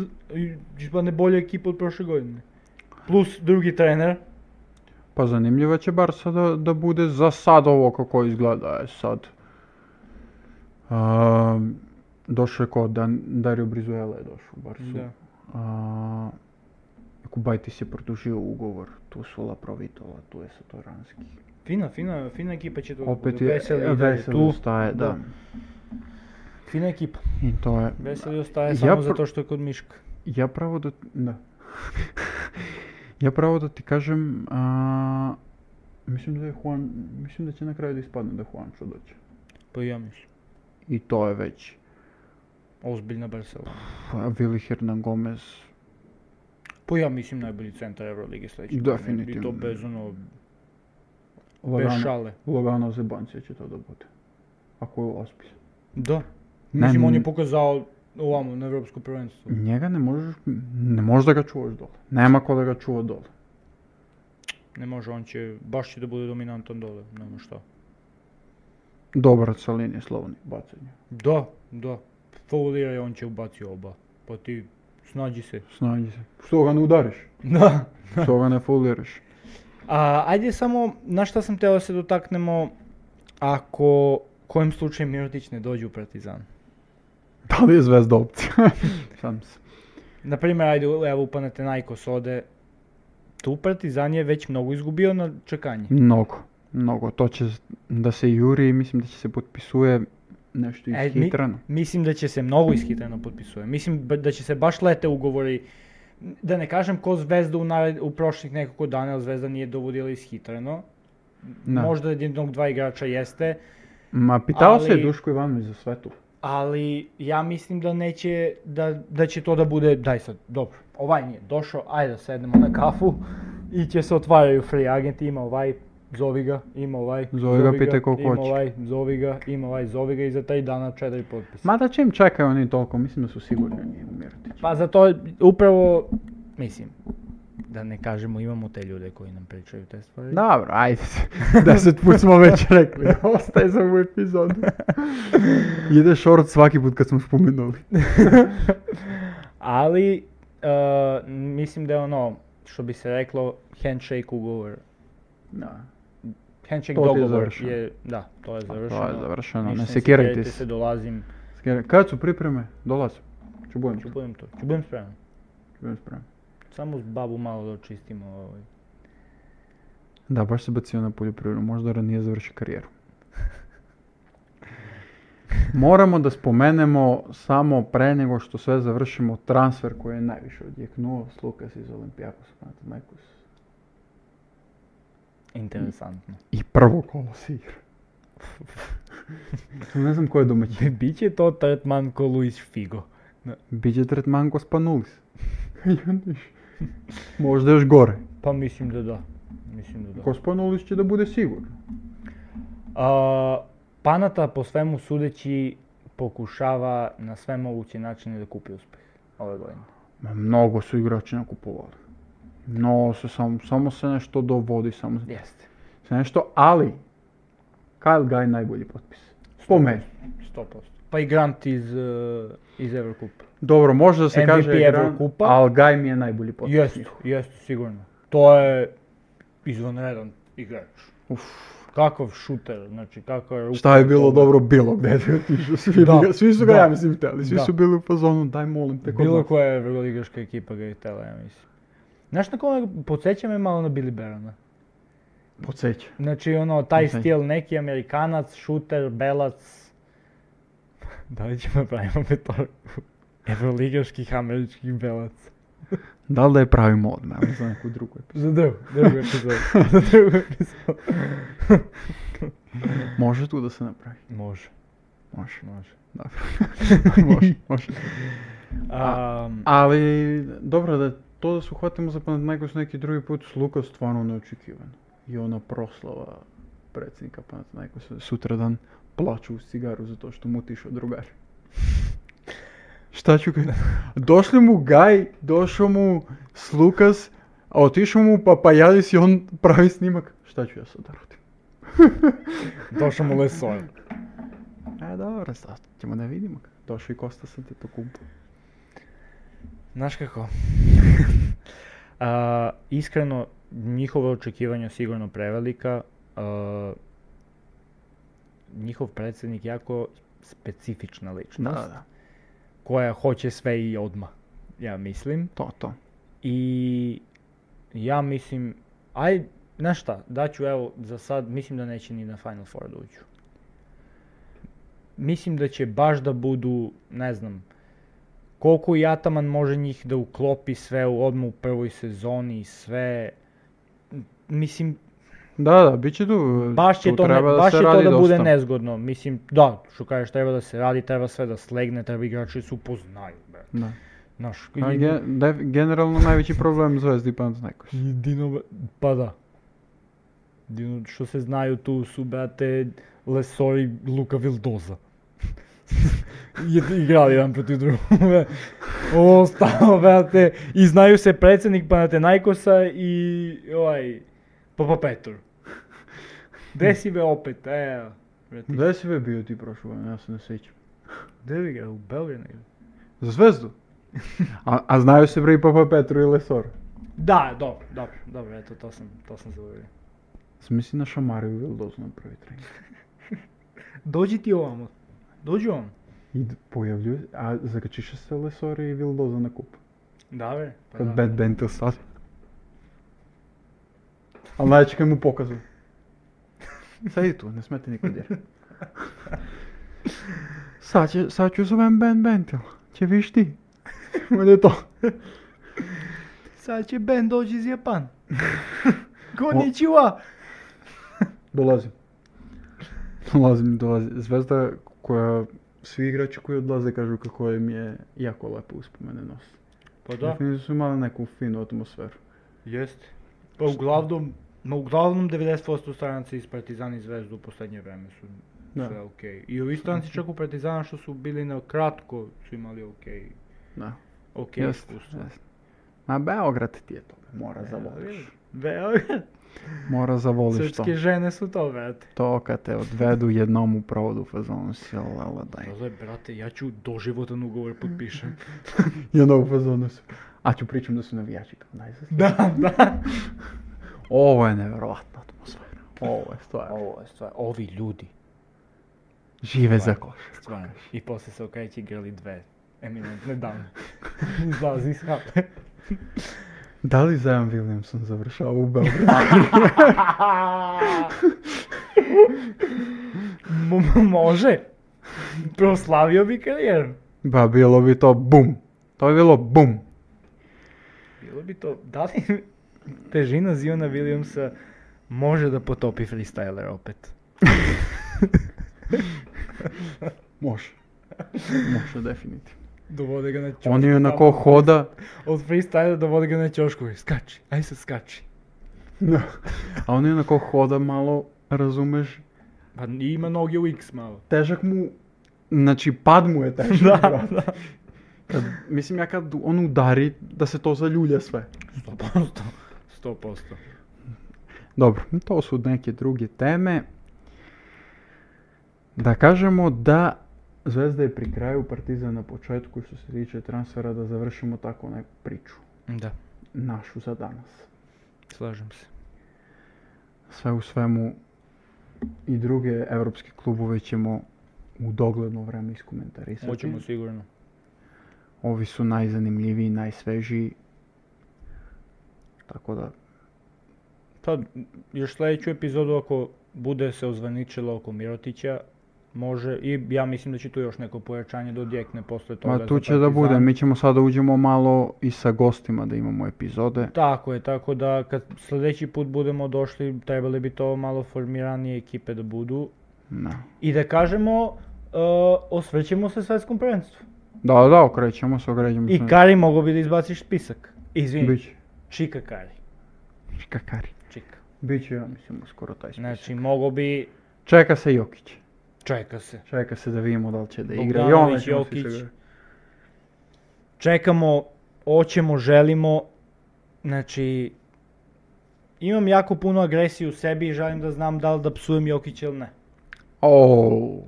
B: па не боља екипа од прошле година. Плюс други тренер.
A: Pa zanimljivo će Barsa da, da bude za sad ovo kako izgleda je sad. Um, došao je ko Dan, Dario Brizuela je došao u Barsu.
B: Да.
A: A, Kubajtis je produžio ugovor, tu su Laprovitova, tu je Satoranski.
B: Фина, фина, фина екипа ќе тоа
A: Opet
B: да
A: je
B: весели,
A: e,
B: и да е
A: veseli
B: ту.
A: ostaje, da.
B: Da. Фина екипа.
A: I to je,
B: Весели остае
A: Ја
B: само
A: пр-
B: затоа што е код Мишка.
A: ja pravo da, <laughs> da. ja pravo da ti kažem, a, mislim da je Juan, mislim da će na kraju da ispadne da je Juancho dođe. Pa
B: Па ја мислам.
A: I to je već.
B: Озбилна Барселона.
A: Pa, Vili Hernan Gomez, Pa
B: Па ја мислам најболи центар Евролиги следеќи. И
A: Definitivno. Pa
B: тоа без оно, без
A: Lagano,
B: шале.
A: Lagano Zebancija će to da bude. Ako je ozbiljan.
B: Да.
A: Ne,
B: Мислим, он
A: м-
B: е показал овамо на Европско првенство.
A: Njega ne možeš, ne možeš da ga čuvaš dole. Nema ko da ga čuva dole.
B: Не може, он ќе баш ќе да биде доминантен доле, нема што.
A: Dobar sa linije slovni bacanje.
B: Да, да. Фаулира и он ќе убаци оба. Па ти снаđi се.
A: Pa Snađi se. <laughs> Što ga ne udariš?
B: Да.
A: Što ga ne fauliraš?
B: А ајде само на што сам тео да се дотакнемо ако којим случај Миротич не дојде у Партизан.
A: Da li je zvezda opcija? Sam se.
B: На пример, ајде ево Панатенајкос оде ту Партизан е веќе многу изгубио на чекање.
A: Mnogo. Mnogo. To će z- da se juri i mislim da će se potpisuje nešto
B: E, mi-
A: ishitrano.
B: Мислим да ќе се многу искитено подписува. Мислим б- да ќе се баш лете уговори. Да не кажем ко Звезда у, наред, у прошлих неколку дана Звезда ние доводила искитрено.
A: Da.
B: Можда еден од два играча јесте,
A: Ma pitao se je
B: Ali-
A: Duško Ivanović za sve to.
B: али ја мислим да не ќе да, да ќе тоа да буде дај сад, добро. Овај ние дошо, ајде да седнемо на кафу и ќе се отварају фри агенти, има овај, зови го, има овај,
A: Зови га, питај колку
B: има
A: хоќеш.
B: овај, зови го, има овај, зови го и за тај дана четири подписа.
A: Mada će im čekaju oni toliko, mislim da su sigurni oni u Mirotiću.
B: Pa za to upravo, mislim, da ne kažemo imamo te ljude koji nam pričaju te stvari.
A: Dobro, <laughs> ajde. Deset put smo već rekli. <laughs> Ostaje za ovu <laughs> epizodu. Ide short svaki put kad smo spomenuli.
B: <laughs> Ali, e, mislim da je ono, što bi se reklo, handshake ugovor.
A: Da.
B: Handshake
A: To ti je
B: dogovor
A: završeno.
B: je, da, to je završeno.
A: To je završeno,
B: Ništa
A: ne
B: se
A: sekirajte
B: sekirajte se.
A: se.
B: dolazim,
A: Sekiraj- Kad su pripreme, dolazim. Ču budem,
B: ću
A: ču
B: budem tu, ću budem spreman.
A: budem spreman.
B: Samo s babu malo da očistimo ovaj.
A: Da, baš se bacio na poljoprivredu, možda ranije završi karijeru. Moramo da spomenemo samo pre nego što sve završimo transfer koji je najviše odjeknuo s Lukas iz Olimpijakos Panathinaikos.
B: <laughs> Interesantno.
A: I prvo kolo se <laughs> igra. ne znam ko je domaćin.
B: Biće to tretman ko Luis Figo.
A: Biće tretman Kospanulis. I onda još- Možda još gore.
B: Pa mislim da da. Mislim da da.
A: Kospanulis će da bude sigurno.
B: A, Panata po svemu sudeći pokušava na sve moguće načine da kupi uspeh ove godine.
A: Ma, mnogo su igrači nakupovali. No, se samo, samo se nešto dovodi, samo se-
B: Jeste.
A: se nešto, ali Kyle Guy najbolji potpis. Po meni.
B: 100%. Pa i Grant iz, eh, iz Evrokupa.
A: Dobro, može da se
B: MVP
A: kaže
B: Evrokupa.
A: ali Guy mi je najbolji potpis.
B: Jeste, jeste, sigurno. To je izvanredan igrač.
A: Uf.
B: Kakav šuter, znači kakva je ruka
A: Šta je bilo
B: dobra.
A: dobro bilo gde je otišao, svi,
B: Da,
A: bi ga- svi su ga
B: da.
A: ja mislim htjeli, svi
B: Da.
A: su bili u fazonu daj molim te kod
B: Bilo
A: nas."
B: koja evroligaška ekipa ga je htjela, ja mislim. Znaš na koga podsjeća me malo na Billy Barona?
A: Podsjeća.
B: Znači ono, taj
A: Okej.
B: stil neki Amerikanac, šuter, <laughs> belac. da li ćemo pravimo petorku? Evroligaških američkih belaca.
A: Da li da je pravimo odmah, ali za neku drugu
B: <laughs>
A: epizodu.
B: Za drugu, drugu epizodu. <laughs> Za drugu <laughs> epizodu.
A: Može tu da se napravi?
B: Može,
A: Može.
B: može.
A: <laughs> Dobro. može, može.
B: Um,
A: Ali, dobro, da to da se uhvatimo za Panathinaikos neki drugi put s Lukas stvarno neočekivano. I ona proslava predsjednika Panathinaikosa sutradan plaću u cigaru zato što mu otišao drugar. Šta ću kaj? Došli mu Gaj, došao mu s Lukas, a otišao mu Papajadis i on pravi snimak. Šta ću ja sad da radim? <laughs>
B: Došao mu Lesoj.
A: E, dobro, sad ćemo da vidimo. Došao i Kosta sa Tito Kumpo.
B: Znaš како? <laughs> а, искрено, njihova očekivanja sigurno prevelika. А, njihov predsjednik jako specifična
A: Da,
B: ličnost,
A: da, da.
B: koja hoće sve i odmah, ja mislim.
A: To, to.
B: I ja mislim, aj, znaš šta, daću evo za sad, mislim da neće ni na Final Four da uđu. Mislim da će baš da budu, ne znam, koliko i Ataman može njih da uklopi sve u odmah u prvoj sezoni, sve, m, mislim,
A: Da, da, bit će tu.
B: baš će
A: tu
B: to, ne,
A: treba
B: baš
A: se
B: je to
A: radi
B: da bude
A: dosta.
B: nezgodno. Mislim, da, što kažeš, treba da se radi, treba sve da slegne, treba igrači da se upoznaju, bre.
A: Da.
B: Znaš,
A: A,
B: i-
A: gen- da, generalno najveći problem Zvezdi Panathinaikos.
B: I Dino, pa da. Dino, što se znaju tu su, brate, Lesor i Luka Vildoza. <laughs> I- Igrali jedan protiv <laughs> drugog. bе. Ovo ostalo, brate, i znaju se predsjednik Panatenajkosa i ovaj, Papa Petor. Gde si be opet, evo. brate.
A: Gde si be bio ti prošlo, ja se ne sjećam.
B: Gde bi ga, u Belgradu? negdje?
A: Za Zvezdu? a, a znaju se bre i Papa Petru i Lesor.
B: Da, dobro, dobro, dobro, eto, to sam, to sam zaboravio.
A: Smisli na Šamariju Vildozu na prvi trening.
B: Dođi ti ovamo, dođi ovamo.
A: I d- pojavljuje, a zakačiše se Lesor i Vildoza na kup.
B: Da, bre, pa
A: Kad
B: da.
A: Bad Ben te sad. Ali najveće kad mu pokazu. Sedi tu, ne smete nikog djera. Sad, će, sad ću zovem Ben Bentil. Će viš ti. Bude to.
B: Sad će Ben doći iz Japan.
A: Konnichiwa. Dolazim. Dolazim, dolazim. Zvezda koja... Svi igrači koji odlaze kažu kako im je jako lepo uspomene nos.
B: Pa da,
A: Definitivno su imali neku finu atmosferu.
B: jeste. Pa uglavnom, ma uglavnom 90% stranaca iz Partizana i Zvezdu u poslednje vreme su
A: Da.
B: sve okej. I ovi stranci čak u Partizana što su bili na kratko su imali okej,
A: Da.
B: okej
A: Jeste,
B: iskustva.
A: jeste. Pa Ma Beograd ti je to. Mora
B: Evo, E, vidiš.
A: zavoliš.
B: <laughs> Beograd,
A: Mora zavoliš to.
B: srpske žene su to, brate.
A: To kad te odvedu jednom u provodu fazonu si lala daj.
B: Dole, Pa brate, ja ću doživotan ugovor potpišem.
A: Jednom u fazonu si. A ću pričam da su navijači kao najzasljiviji.
B: da, da.
A: Ovo je nevjerovatna atmosfera. Ovo je stvarno.
B: Ovo je stvar, ovi ljudi.
A: Žive za
B: Stvarno,
A: koš.
B: Stvarno. I posle se okreće i grli dve eminentne dame. Izlazi iz hape.
A: Da li Zion Williamson završava u Beogradu? <laughs>
B: M- m- može. Proslavio bi karijeru.
A: ba, bilo bi to bum. To bi bilo bum.
B: Bilo bi to, da li težina Ziona Williamsa može da potopi freestyler opet?
A: <laughs> Može. Može, definitivno.
B: Dovode ga na čošku.
A: On je onako <laughs> hoda,
B: Od freestyler dovode ga na čošku. Skači, aj sad skači.
A: a on je onako hoda malo, razumeš?
B: Pa ima noge u X malo.
A: Težak mu, znači pad mu je težak.
B: da,
A: brate.
B: da.
A: Kad, E, mislim ja kad on udari, da se to zaljulja sve.
B: 100%. 100%.
A: Dobro, to su neke druge teme. Da kažemo da Zvezda je pri kraju, Partizan na početku što se tiče transfera, da završimo tako neku priču
B: Da,
A: našu za danas.
B: slažem se.
A: Sve u svemu i druge evropske klubove ćemo u dogledno vreme iskomentarisati.
B: Moćemo sigurno.
A: Ovi su najzanimljiviji, najsvežiji. Tako da,
B: Pa, još sljedeću epizodu ako bude se ozvaničilo oko Mirotića, može, i ja mislim da će tu još neko pojačanje da odjekne posle toga.
A: ma tu
B: za
A: će da
B: Partizan.
A: bude, mi ćemo sada uđemo malo i sa gostima da imamo epizode.
B: Tako je, tako da kad sljedeći put budemo došli, trebali bi to malo formiranije ekipe da budu.
A: Da.
B: I da kažemo, uh, osvrćemo se svetskom prvenstvu.
A: Da, da, okrećemo se, okrećemo se.
B: I Kari mogo bi da izbaciš spisak. Izvini,
A: Mhm. Biće.
B: Čika Kari.
A: Kakari.
B: Čika.
A: Biće, ja mislim, uskoro taj spisak.
B: Znači, mogo bi...
A: Čeka se Jokić.
B: Čeka se.
A: Čeka se da vidimo da li će da igra. I
B: Bogdanović,
A: onda ćemo svi se
B: Jokić.
A: igrati.
B: Čekamo, hoćemo, želimo, znači, imam jako puno agresije u sebi i želim da znam da li da psujem Jokić ili ne.
A: Oh.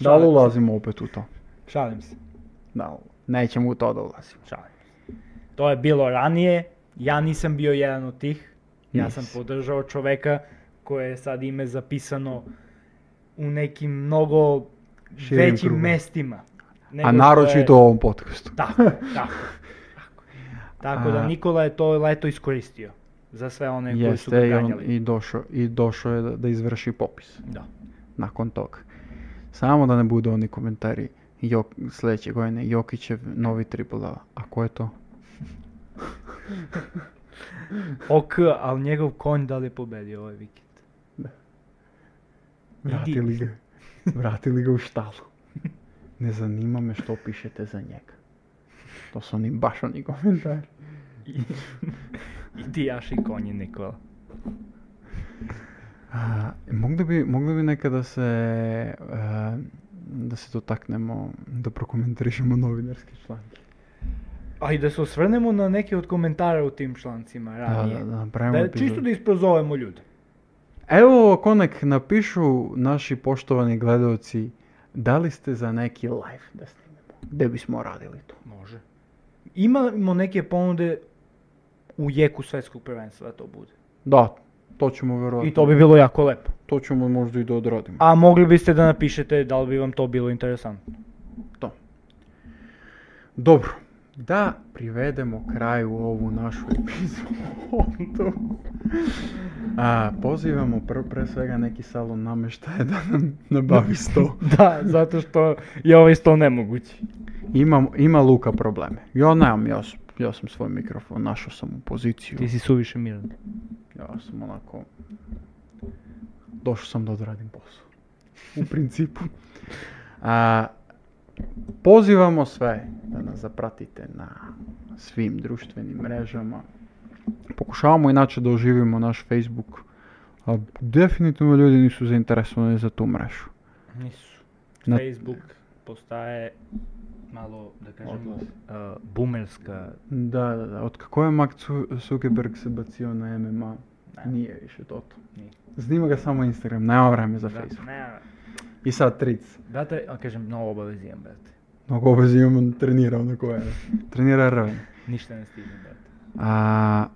A: Da li ulazimo opet u to?
B: Šalim se,
A: Da, nećemo u to da ulazimo.
B: šalim se. To je bilo ranije, ja nisam bio jedan od tih. Ja sam
A: Nisi.
B: podržao čoveka koje je sad ime zapisano u nekim mnogo
A: Širim
B: većim
A: krugom.
B: mestima.
A: A
B: nego što je-
A: naročito u ovom podcastu. <laughs>
B: Tako, tako. tako. Tako da
A: A-
B: Nikola je to leto iskoristio za sve one koji su ga
A: Jeste, i, on-
B: ganjali.
A: i, došao, i došao je da, da izvrši popis
B: Da.
A: nakon toga. Samo da ne budu oni komentari Jok, sljedeće godine Jokićev novi triple A. A ko je to?
B: Ok, ali njegov konj da li je pobedio ovaj vikend?
A: Vratili ga, vratili ga u štalu. <laughs> Ne zanima me što pišete za njega. To su oni baš oni <laughs> komentari.
B: I, i ti jaši konji Nikola.
A: A, mogli, bi, mogli bi nekada se, e, da se dotaknemo, da prokomentarišemo novinarski članke.
B: A i da se osvrnemo na neke od komentara u tim člancima
A: Da,
B: ranije.
A: da, da, napravimo
B: Da,
A: epizodu.
B: čisto da isprozovemo ljude.
A: Evo ako nek napišu naši poštovani gledalci, da li ste za neki live da snimemo? Gde bismo radili to?
B: Može. Imamo neke ponude u jeku svetskog prvenstva da to bude.
A: Da, to ćemo verovatno.
B: I to bi bilo jako lepo.
A: to ćemo možda i da odradimo.
B: A mogli biste da napišete da li bi vam to bilo interesantno.
A: To. Dobro, da privedemo kraju ovu našu epizodu. A, pozivamo pr- pre svega neki salon nameštaje da nam nabavi <laughs> sto.
B: da, zato što je ovaj sto nemoguće.
A: Ima, ima Luka probleme. Ja nemam, ja, s- ja sam svoj mikrofon, našao sam u poziciju.
B: Ti si suviše miran.
A: Ja sam onako... Došao sam da odradim posao. U principu. <laughs> A, pozivamo sve da nas zapratite na svim društvenim mrežama. Pokušavamo inače da oživimo naš Facebook. A definitivno ljudi nisu zainteresovani za tu mrežu.
B: Nisu.
A: Na-
B: Facebook да postaje malo, da kažemo,
A: Odlazi.
B: uh, bumerska.
A: Da, da, da. Od kako je Mark Zu- Zuckerberg se bacio na MMA,
B: Ne.
A: nije više to to.
B: Nije.
A: Snima ga samo Instagram, nema vreme za
B: Da,
A: Facebook.
B: ne,
A: I sad tric.
B: brate, a kažem, mnogo obavezi imam, brate.
A: Mnogo obaveza imam, on trenira onda koje. Trenira rven.
B: Ništa ne stignem, brate.
A: A,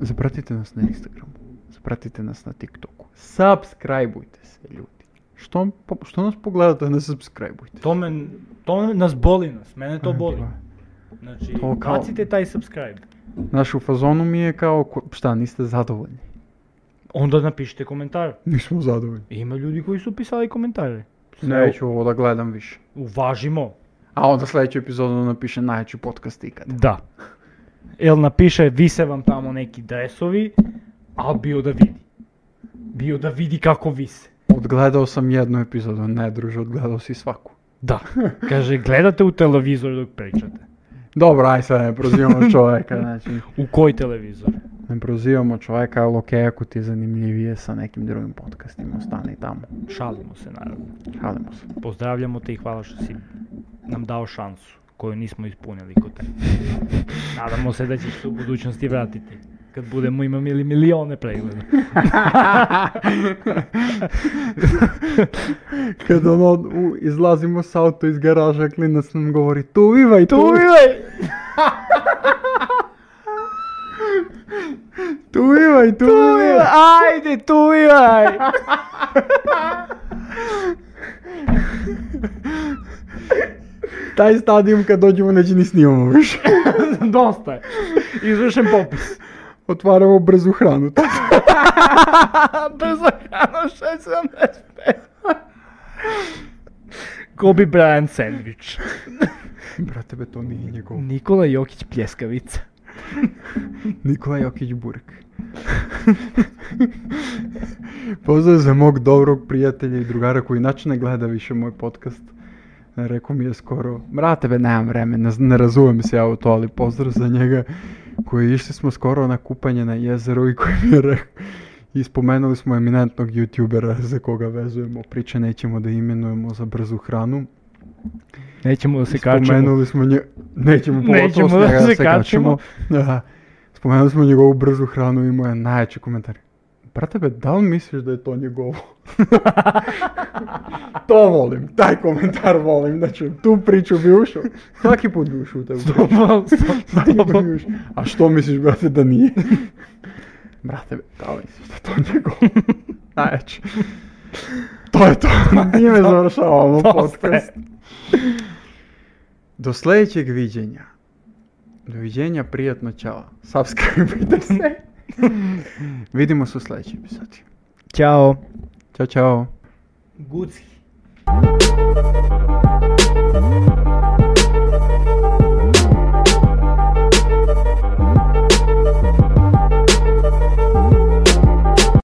A: zapratite nas na Instagramu. Zapratite nas na TikToku. Subscribeujte se, ljudi. Što, po- što nas pogledate, ne subscribeujte.
B: To, me, to nas boli nas, mene to
A: Ajde,
B: boli.
A: ba.
B: Znači,
A: To kao-
B: bacite taj subscribe.
A: Znaš, u fazonu mi je kao, ko- šta, niste zadovoljni?
B: Onda napišite komentar.
A: Nismo zadovoljni.
B: Ima ljudi koji su pisali komentare.
A: Neću ovo da gledam više.
B: Uvažimo.
A: A onda sljedeću epizodu napiše najjači podcast ikada.
B: Da. Jel napiše, vise vam tamo neki dresovi, a bio da vidi. Bio da vidi kako vise.
A: Odgledao sam jednu epizodu, ne druže, odgledao si svaku.
B: Da. Kaže, gledate u televizor dok pričate.
A: Dobro, aj sad ne prozivamo čovjeka, znači.
B: U koji televizor?
A: Ne prozivamo čovjeka, ali okej, ako ti je zanimljivije sa nekim drugim podcastima, ostani tamo.
B: Šalimo se, naravno.
A: Šalimo se.
B: Pozdravljamo te i hvala što si nam dao šansu koju nismo ispunili kod tebe. Nadamo se da ćeš se u budućnosti vratiti. Kad budemo imali mili- milione pregleda.
A: <laughs> Kad ono u- izlazimo s auto iz garaža, klinac nam govori tu uvivaj, tu uvivaj, tu uvivaj, tu uvivaj.
B: Ajde, tu ivaj!
A: Taj stadion kad dođemo neće ni snimamo <laughs> više.
B: <laughs> Dosta je. Izvršen popis.
A: Otvaramo brzu hranu.
B: <laughs>
A: <laughs>
B: Brzo hrano 675. Kobe Bryant sandvič.
A: Brate, be, to nije njegov.
B: Nikola Jokić pljeskavica.
A: Nikola Jokić Burek. <laughs> Pozdrav za mog dobrog prijatelja i drugara koji inače ne gleda više moj podcast. Rekao mi je skoro, brate be, nemam vremena, ne, razumijem se ja u to, ali pozdrav za njega koji išli smo skoro na kupanje na jezeru i koji mi je rekao, i spomenuli smo eminentnog youtubera za koga vezujemo priče, nećemo da imenujemo za brzu hranu.
B: Nećemo da se kačemo.
A: Spomenuli smo nje... Nećemo pogotovo
B: Nećemo
A: s njega
B: da
A: da
B: se
A: se kačemo. Da. Spomenuli smo njegovu brzu hranu i moje najjači komentar. Brate be, da li misliš da je to njegovo?
B: <laughs>
A: to volim, taj komentar volim, znači tu priču bi ušao. Svaki put bi ušao u taj
B: Stopal,
A: Svaki put
B: stopal.
A: bi ušao. A što misliš, brate, da nije? brate be, da li misliš <laughs> da je to njegovo? Najjači. To
B: <laughs>
A: je to, njime završavamo
B: Dosta je.
A: podcast. Do sljedećeg viđenja. Doviđenja, prijatno, čao. Subscribe <laughs> se.
B: <laughs>
A: Vidimo se u sljedećoj epizodi.
B: Ćao.
A: Ćao, čao.
B: Gucki.